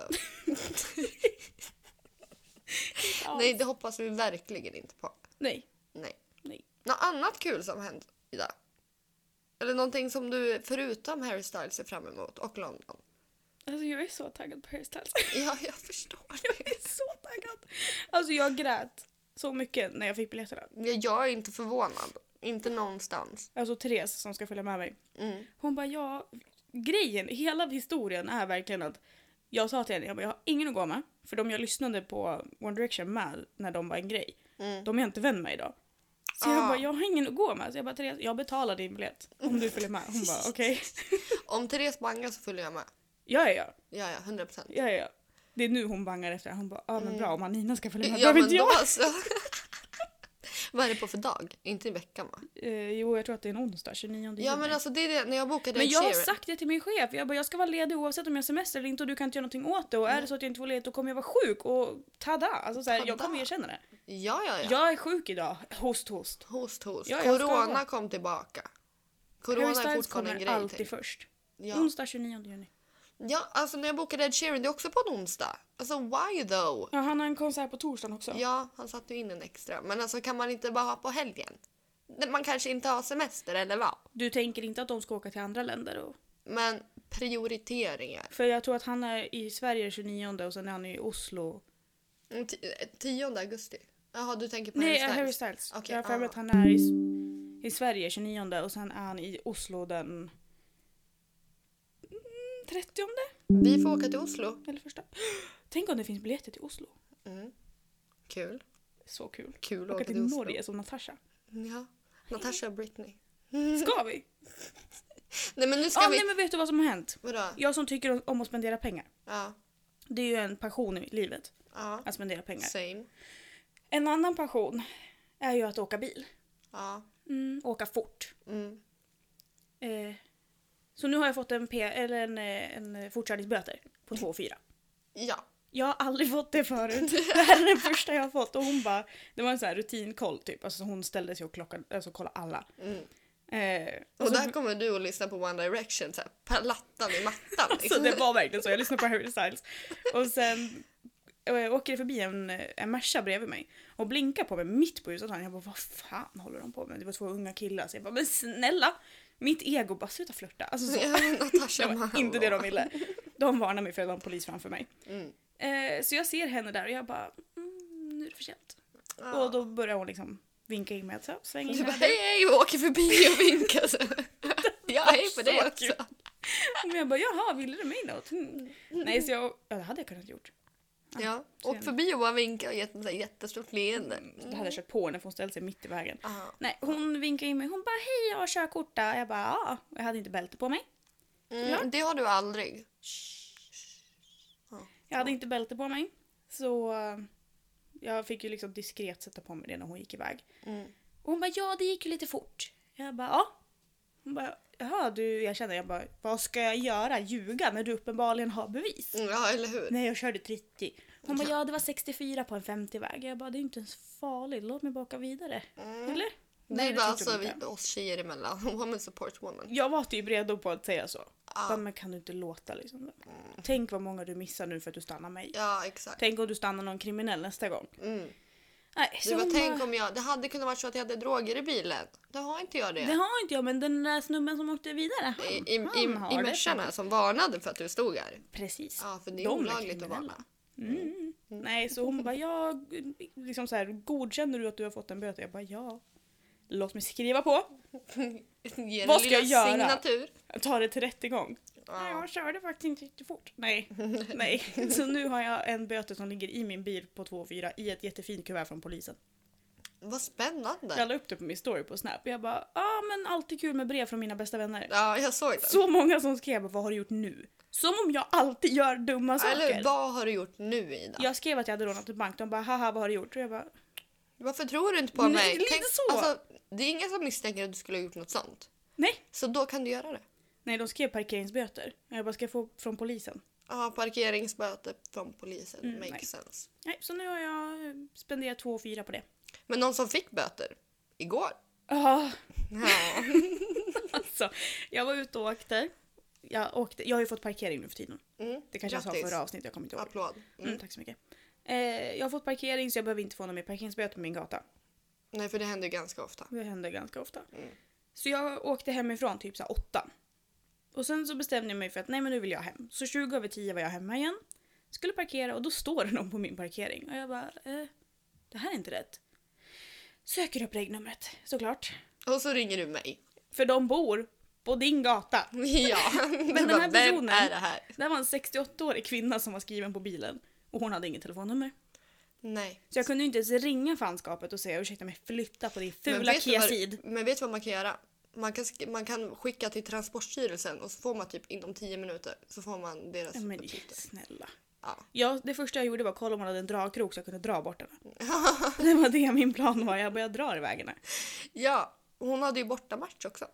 S2: Ja.
S1: Nej, det hoppas vi verkligen inte på.
S2: Ah, Nej.
S1: Nej.
S2: Nej.
S1: Något annat kul som hänt idag? Eller någonting som du förutom Harry Styles ser fram emot och London?
S2: Alltså jag är så taggad på Harry Styles.
S1: Ja, jag förstår
S2: Jag
S1: det.
S2: är så taggad. Alltså jag grät så mycket när jag fick biljetterna.
S1: Men Jag är inte förvånad. Inte någonstans.
S2: Alltså Therese som ska följa med mig.
S1: Mm.
S2: Hon bara ja, grejen, hela historien är verkligen att jag sa till henne, jag, bara, jag har ingen att gå med. För de jag lyssnade på One Direction med när de var en grej,
S1: Mm.
S2: de är jag inte vän med idag. Så
S1: Ah.
S2: jag bara, jag har ingen att gå med. Så jag bara, Therese, jag betalar din biljett om du följer med. Hon bara, okej.
S1: Om Therese bangar så följer jag med.
S2: Ja, ja, ja,
S1: Ja, ja, 100 procent.
S2: ja, ja. Det är nu hon bangar efter. Hon bara, ja ah, men bra om Anina ska följa
S1: Mm.
S2: med.
S1: Ja,
S2: behöver
S1: men
S2: inte jag.
S1: då så. Vad är det på för dag? Inte i veckan va?
S2: Eh, jo, jag tror att det är en onsdag, 29 juni.
S1: Ja men alltså det är det, när jag bokade
S2: Men
S1: Ed
S2: jag har
S1: Sheeran-
S2: sagt det till min chef. Jag bara, jag ska vara ledig oavsett om jag har semester eller inte och du kan inte göra någonting åt det. Och
S1: Mm.
S2: är det så att jag inte får ledigt då kommer jag vara sjuk och tada! Alltså så här, jag
S1: Tada.
S2: kommer erkänna det.
S1: Ja, ja, ja.
S2: Jag är sjuk idag. Host, host.
S1: Host, host.
S2: Ja, jag ska
S1: Corona
S2: vara-
S1: kom tillbaka.
S2: Harry
S1: Corona är
S2: Styles
S1: fortfarande en
S2: kommer
S1: grej.
S2: alltid
S1: tänk.
S2: först.
S1: Ja.
S2: Onsdag 29 juni.
S1: ja, alltså när jag bokade Ed Sheeran, det är också på en onsdag. Alltså why though?
S2: Ja, han har en konsert på torsdagen också.
S1: Ja, han satte ju in en extra. Men alltså kan man inte bara ha på helgen? Man kanske inte har semester eller vad?
S2: Du tänker inte att de ska åka till andra länder? Och...
S1: Men prioriteringar.
S2: För jag tror att han är i Sverige den 29 och sen är han i Oslo.
S1: Mm, ti- eh, 10 augusti? Jaha, du tänker på
S2: Nej, eh,
S1: Harry Styles?
S2: Harry Styles.
S1: Okej,
S2: jag har för mig
S1: ah.
S2: att han är i, i Sverige 29 och sen är han i Oslo den mm, 30
S1: Vi får åka till Oslo.
S2: eller första. Tänk om det finns biljetter till Oslo.
S1: Mm. Kul.
S2: Så kul.
S1: Kul att
S2: Åka
S1: åka
S2: till
S1: till Oslo.
S2: Norge som Natasha.
S1: Ja. Natasha och Britney.
S2: Ska vi?
S1: Nej men nu ska
S2: Ja,
S1: vi...
S2: nej men vet du vad som har hänt?
S1: Vadå?
S2: Jag som tycker om att spendera pengar.
S1: Ja.
S2: Det är ju en passion i livet,
S1: Ja.
S2: att spendera pengar.
S1: Same.
S2: En annan passion är ju att åka bil.
S1: Ja.
S2: Åka fort.
S1: Mm.
S2: Eh, så nu har jag fått en, P- eller en, eh, en fortkörningsböter på 2 4.
S1: Ja.
S2: Jag har aldrig fått det förut. Det här är den första jag har fått och hon bara, det var en sån här rutinkoll typ. Alltså hon ställde sig och klockade, alltså kollade alla.
S1: Mm.
S2: Eh, och
S1: Och
S2: så-
S1: där kommer du att lyssna på One Direction, så här, plattan i mattan.
S2: Så
S1: Liksom.
S2: Alltså, det var verkligen så, jag lyssnade på Harry Styles. Och sen eh, åker det förbi en, en Merca bredvid mig och blinkar på mig mitt på ljuset. Jag bara vad fan håller de på med? Det var två unga killar. Så jag bara men snälla! Mitt ego bara sluta flörta. Alltså så.
S1: Ja, Natasha
S2: Det var
S1: Mahalo.
S2: inte det de ville. De varnade mig för att det var en polis framför mig.
S1: Mm.
S2: Eh, så jag ser henne där och jag bara mm, nu är det för sent.
S1: Ja.
S2: Och då börjar hon liksom vinka in mig att så, sväng
S1: Du
S2: in
S1: bara
S2: här.
S1: hej hej och åker förbi och vinkar. Så. Ja hej på
S2: Så
S1: dig
S2: kul.
S1: också.
S2: Men jag bara jaha, ville du mig något? Mm. Nej så jag, ja det hade jag kunnat gjort.
S1: Ja,
S2: så
S1: åk
S2: gärna.
S1: förbi och bara vinka och gett ett så här jättestort leende.
S2: Det hade jag kört på henne för hon ställde sig mitt i vägen.
S1: Ja.
S2: Nej, hon vinkade in mig. Hon bara hej, jag har körkort där. Jag bara ja, jag hade inte bälte på mig.
S1: Mm, det har du aldrig.
S2: Jag hade inte bälte på mig. Så eh, jag fick ju liksom diskret sätta på mig det när hon gick iväg.
S1: Mm.
S2: Och hon bara ja, det gick ju lite fort. Jag bara ja. Hon bara jaha, du erkänner. Jag bara vad ska jag göra? Ljuga när du uppenbarligen har bevis?
S1: Mm, Ja, eller hur?
S2: Nej, jag körde 30. Hon bara ja, det var 64 på en 50-väg. Jag bara det är inte ens farligt. Låt mig bara åka vidare. Eller?
S1: Det är bara
S2: tyckte hon
S1: Mm. alltså
S2: inte.
S1: vi, oss tjejer emellan. Woman support woman.
S2: Jag var typ redo på att säga så.
S1: Ja.
S2: Bara, men kan du inte låta liksom? Tänk vad många du missar nu för att du stannar mig.
S1: Ja, exakt.
S2: Tänk om du stannar någon kriminell nästa gång.
S1: Mm.
S2: Nej,
S1: Du
S2: så
S1: bara,
S2: hon
S1: tänk
S2: bara,
S1: om jag... Det hade kunnat vara så att jag hade droger i bilen. Det har inte jag det.
S2: Det har inte jag, men den där snubben som åkte vidare, han,
S1: I, i, i,
S2: han har
S1: i
S2: det.
S1: Mercan här som varnade för att du stod här.
S2: Precis.
S1: Ja, för det är
S2: De är
S1: olagligt att
S2: kriminella.
S1: varna.
S2: Mm. Nej, så hon bara, ja, liksom så här, godkänner du att du har fått en böter? Jag bara, ja. Låt mig skriva på.
S1: Ge
S2: Vad
S1: den
S2: ska
S1: lilla
S2: jag göra?
S1: Signatur.
S2: Jag tar det till rättegång. Nej,
S1: Ja.
S2: jag körde faktiskt inte riktigt fort. Nej. Nej. Så nu har jag en böter som ligger i min bil på 2,4 i ett jättefint kuvert från polisen.
S1: Vad spännande.
S2: Jag la upp det på min story på Snap. Jag bara, ja ah, men alltid kul med brev från mina bästa vänner.
S1: Ja, jag såg den.
S2: Så många som skrev, vad har du gjort nu? Som om jag alltid gör dumma
S1: Eller hur?
S2: saker.
S1: vad har du gjort nu Ida?
S2: Jag skrev att jag hade rånat en bank, de bara haha vad har du gjort? Och jag bara,
S1: Varför tror du inte på
S2: Nej,
S1: mig?
S2: lite så.
S1: Alltså, det är ingen som misstänker att du skulle ha gjort något sånt.
S2: nej.
S1: Så då kan du göra det.
S2: Nej de skrev parkeringsböter. Jag bara, ska jag få från polisen?
S1: Ja, parkeringsböter från polisen.
S2: Mm,
S1: Makes
S2: nej.
S1: sense.
S2: Nej, så nu har jag eh, spenderat två och fyra på det.
S1: Men någon som fick böter? Igår?
S2: Ja,
S1: Ja.
S2: alltså. Jag var ute och åkte. Jag, åkte. jag har ju fått parkering nu för tiden.
S1: Mm.
S2: Det kanske jag sa
S1: Grattis.
S2: förra avsnittet, jag kommer inte ihåg.
S1: Applåd. Mm.
S2: Mm. tack så mycket. Eh, jag har fått parkering så jag behöver inte få någon mer parkeringsböter på min gata.
S1: Nej, för det händer ju ganska ofta.
S2: Det händer ganska ofta. Så jag åkte hemifrån typ så här åtta. Och sen så bestämde jag mig för att nej men nu vill jag hem. Så 20 över 10 var jag hemma igen. Skulle parkera och då står det någon på min parkering. Och jag bara, eh, det här är inte rätt. Söker upp regnumret, såklart.
S1: Och så ringer du mig.
S2: För de bor på din gata.
S1: Ja. Men
S2: den här
S1: Vem
S2: personen-
S1: är det här?
S2: Det var en 68-årig kvinna som var skriven på bilen. Och hon hade inget telefonnummer.
S1: Nej.
S2: Så jag kunde ju inte ens ringa fanskapet och säga ursäkta mig flytta på din
S1: Men
S2: fula
S1: vet du vad-
S2: Kia-sid.
S1: Men vet du vad man kan göra? Man kan, sk- man kan skicka till Transportstyrelsen och så får man typ inom 10 minuter så får man deras
S2: Ja, Men
S1: uppgifter.
S2: snälla.
S1: Ja.
S2: Ja, det första jag gjorde var att kolla om hon hade en dragkrok så jag kunde dra bort henne. det var det min plan var, jag började dra iväg henne.
S1: ja, hon hade ju bortamatch också.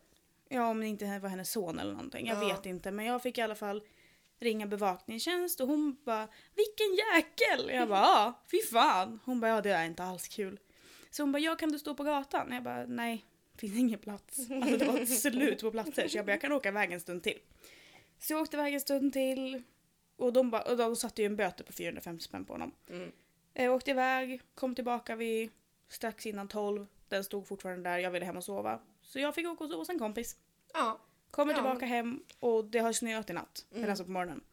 S2: Ja, om det inte var hennes son eller någonting, jag
S1: Ja.
S2: vet inte. Men jag fick i alla fall ringa bevakningstjänst och hon bara “Vilken jäkel!” Jag bara “Ja, fy fan!” Hon bara “Ja, det är inte alls kul”. Så hon bara “Ja, kan du stå på gatan?” Jag bara “Nej, finns ingen plats”. Alltså det var slut på platser så jag bara “Jag kan åka iväg en stund till”. Så jag åkte iväg en stund till och de, bara, och de satte ju en böter på 450 spänn på honom.
S1: Mm.
S2: Jag åkte iväg, kom tillbaka vid strax innan 12. Den stod fortfarande där, jag ville hem och sova. Så jag fick åka och sova hos en kompis.
S1: Ja.
S2: Kommer
S1: Ja, Mm.
S2: tillbaka hem och det har snöat i natt, eller alltså på morgonen.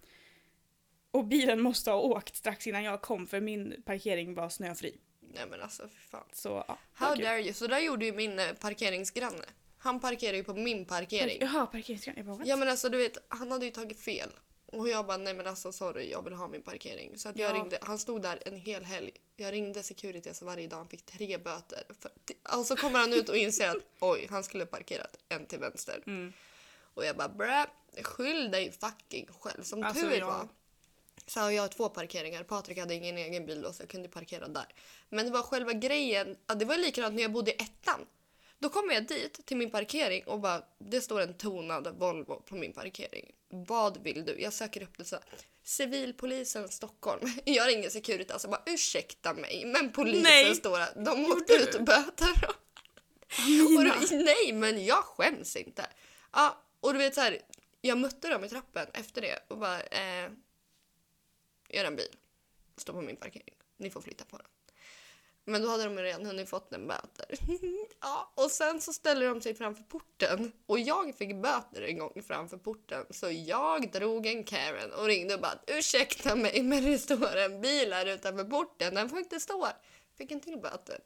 S2: Och bilen måste ha åkt strax innan jag kom för min parkering var snöfri.
S1: Nej men alltså fy fan.
S2: Så ja. det var
S1: How
S2: kul.
S1: dare you? Så där gjorde ju min eh, parkeringsgranne. Han parkerar ju på min parkering.
S2: Jaha, parkeringsgrann. Jag bara, what?
S1: Ja men alltså du vet, han hade ju tagit fel. Och jag bara nej men alltså sorry jag vill ha min parkering. Så att jag
S2: Ja.
S1: ringde, han stod där en hel helg. Jag ringde Securitas varje dag, han fick tre böter. För, och så kommer han ut och inser att oj, han skulle ha parkerat en till vänster.
S2: Mm.
S1: Och jag bara brä, skyll dig fucking själv. Som
S2: Alltså,
S1: tur
S2: ja.
S1: var så har jag två parkeringar. Patrik hade ingen egen bil då så jag kunde parkera där. Men det var själva grejen, ja, det var likadant när jag bodde i ettan. Då kommer jag dit till min parkering och bara, det står en tonad Volvo på min parkering. Vad vill du? Jag söker upp det så här. Civilpolisen Stockholm. Jag ringer Securitas och alltså bara ursäkta mig men polisen
S2: Nej.
S1: står här. De åkte ut böter. Och
S2: Amina.
S1: då, nej, men jag skäms inte. Ja, och du vet så här, jag mötte dem i trappen efter det och bara, eh, gör en bil. Stå på min parkering. Ni får flytta på den. Men då hade de redan hunnit fått en böter. ja, och sen så ställer de sig framför porten och jag fick böter en gång framför porten så jag drog en Karen och ringde och bara ursäkta mig men det står en bil här utanför porten, den får inte stå här. Fick en till böter.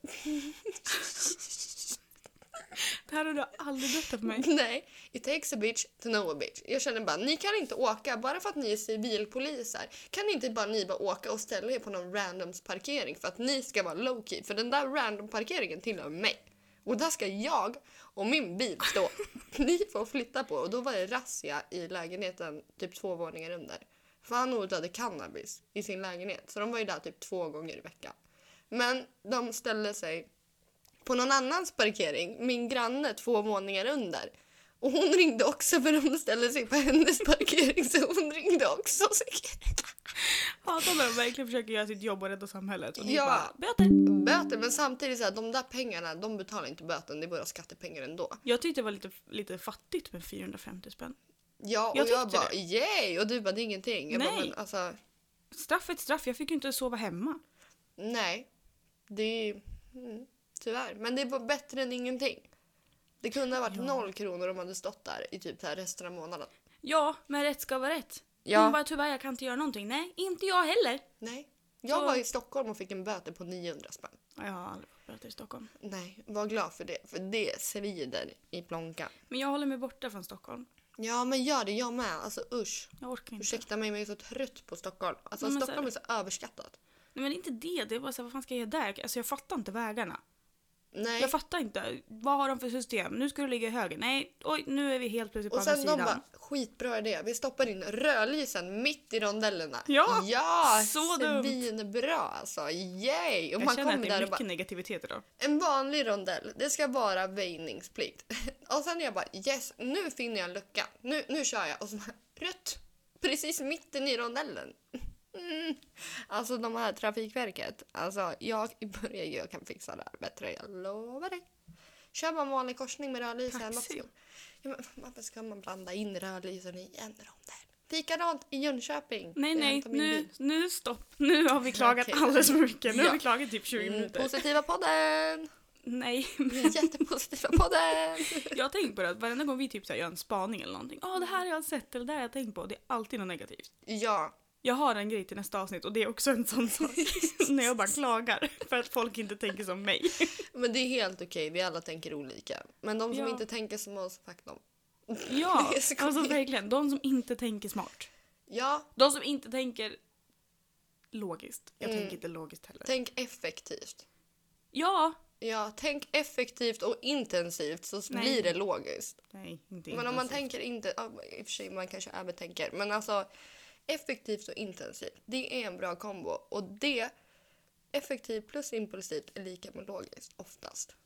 S2: Det här har du aldrig berättat för mig.
S1: Nej, it takes a bitch to know a bitch. Jag känner bara, ni kan inte åka bara för att ni är civilpoliser. Kan inte bara ni bara åka och ställa er på någon randoms parkering för att ni ska vara low-key? För den där random parkeringen tillhör mig. Och där ska jag och min bil stå. ni får flytta på. Och då var det razzia i lägenheten typ två våningar under. För han odlade cannabis i sin lägenhet. Så de var ju där typ två gånger i veckan. Men de ställde sig på någon annans parkering, min granne två våningar under. Och hon ringde också för de ställde sig på hennes parkering så hon ringde också. Så
S2: Hatar när de verkligen försöker göra sitt jobb och rädda samhället. Och ni
S1: Ja.
S2: bara, böter!
S1: Böter, men samtidigt så här, de där pengarna, de betalar inte böten, det är våra skattepengar ändå.
S2: Jag tyckte det var lite, lite fattigt med 450 spänn.
S1: Ja, och
S2: Jag
S1: jag,
S2: tyckte
S1: bara
S2: det.
S1: yay! Och du bara det är ingenting. Jag bara,
S2: Nej.
S1: men, alltså,
S2: Straff är ett straff, jag fick ju inte sova hemma.
S1: nej. Det är mm, tyvärr, men det var bättre än ingenting. Det kunde ha varit noll kronor om man hade stått där i typ så här resten av månaden.
S2: Ja, men rätt ska vara rätt.
S1: Ja.
S2: Hon bara tyvärr jag kan inte göra någonting. Nej, inte jag heller.
S1: Nej. Jag
S2: Så-
S1: var i Stockholm och fick en böter på 900 spänn.
S2: Ja, Jag har aldrig fått böter i Stockholm.
S1: Nej, var glad för det. För det svider i plånkan.
S2: Men jag håller mig borta från Stockholm.
S1: Ja, men gör det. Jag med. Alltså usch.
S2: Jag orkar inte.
S1: Ursäkta mig, men jag är så trött på Stockholm. Alltså
S2: Ja, men så
S1: Stockholm är
S2: är
S1: så överskattat.
S2: Nej men inte det, det är bara så här, vad fan ska jag göra där? Alltså jag fattar inte vägarna.
S1: Nej.
S2: Jag fattar inte. Vad har de för system? Nu ska du ligga i höger. Nej, oj, nu är vi helt plötsligt på
S1: Och
S2: andra
S1: sen de
S2: sidan.
S1: bara, skitbra idé. Vi stoppar in rödlysen mitt i rondellerna.
S2: Ja,
S1: ja
S2: så dumt.
S1: svinbra alltså. Yay! Och
S2: jag
S1: man
S2: känner
S1: kommer
S2: att det är
S1: där och
S2: mycket
S1: bara,
S2: negativitet idag.
S1: en vanlig rondell, det ska vara väjningsplikt. Och sen är jag bara, yes, nu finner jag en lucka. Nu, nu kör jag. Och så bara, rött! Precis mitten i rondellen. Mm. Alltså de här Trafikverket. Alltså jag börjar ju, jag kan fixa det här bättre, jag lovar dig. Kör bara en vanlig korsning med rödlysen. Varför
S2: Taxi.
S1: ska- Ja, men Varför ska man blanda in rödlysen i en rondell? Likadant i Jönköping.
S2: Nej,
S1: Jag
S2: nej,
S1: hämtar min
S2: nu,
S1: bil.
S2: nu stopp. Nu har vi klagat
S1: Okej.
S2: alldeles för mycket. Nu
S1: Ja.
S2: har vi klagat typ 20
S1: Mm,
S2: minuter.
S1: positiva podden!
S2: Nej,
S1: Jättepositiva podden!
S2: jag har tänkt på det att varenda gång vi typ så här gör en spaning eller någonting. Ja, det här har jag sett eller det här har jag tänkt på. Det är alltid något negativt.
S1: Ja,
S2: Jag har en grej till nästa avsnitt och det är också en sån sak. När jag bara klagar för att folk inte tänker som mig.
S1: Men det är helt okej, vi alla tänker olika. Men de som
S2: Ja.
S1: inte tänker som oss, fuck dem.
S2: Ja,
S1: Det är så
S2: alltså
S1: komiskt.
S2: verkligen. De som inte tänker smart.
S1: Ja,
S2: De som inte tänker logiskt. Jag
S1: Mm.
S2: tänker inte logiskt heller.
S1: tänk effektivt.
S2: Ja!
S1: Ja, tänk effektivt och intensivt så
S2: Nej.
S1: blir det logiskt.
S2: Nej, inte
S1: Men om man
S2: intensivt.
S1: tänker inte, ja, i och för sig man kanske övertänker, men alltså effektivt och intensivt, det är en bra kombo. Och det, effektivt plus impulsivt är lika med logiskt oftast.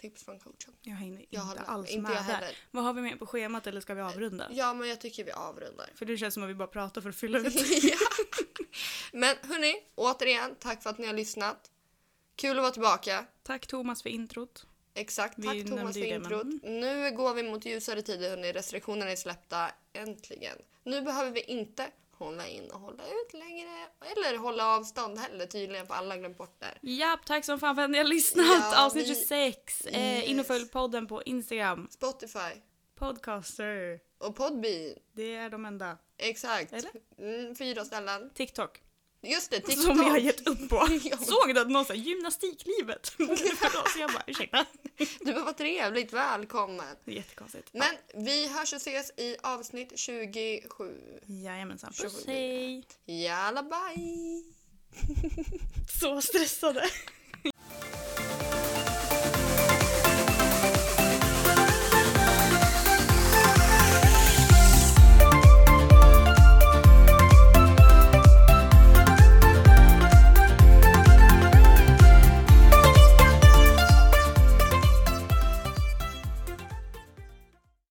S1: Tips från coachen.
S2: Jag hänger inte
S1: Jag har-
S2: alls
S1: inte
S2: med
S1: jag
S2: där.
S1: heller.
S2: Vad har vi med på schemat eller ska vi avrunda?
S1: Ja, men jag tycker vi avrundar.
S2: För det känns som att vi bara pratar för att fylla ut.
S1: ja. Men hörni, återigen, tack för att ni har lyssnat. Kul att vara tillbaka.
S2: Tack Thomas för introt.
S1: Exakt,
S2: Vi
S1: tack Thomas
S2: nämnde
S1: för
S2: ju det, men- Mm.
S1: introt. Nu går vi mot ljusare tider hörni, restriktionerna är släppta. Äntligen. Nu behöver vi inte hålla in och hålla ut längre. Eller hålla avstånd heller tydligen, för alla har glömt bort det.
S2: Japp, tack som fan för att ni har lyssnat.
S1: Ja,
S2: Avsnitt
S1: vi-
S2: 26. Eh, in och följ podden på Instagram.
S1: Spotify
S2: Podcaster.
S1: och Podbean.
S2: Det är de enda.
S1: Exakt.
S2: Eller?
S1: Mm, fyra ställen.
S2: TikTok.
S1: Just det, TikTok.
S2: Som vi har gett upp på.
S1: Ja.
S2: Såg du att någon sa gymnastiklivet? för då, så jag bara ursäkta.
S1: Du var trevligt välkommen.
S2: Det är jättekonstigt.
S1: Men vi hörs och ses i avsnitt 27.
S2: Jajamensan. Puss
S1: Tjugosju.
S2: hej.
S1: Yalla bye!
S2: Så stressade.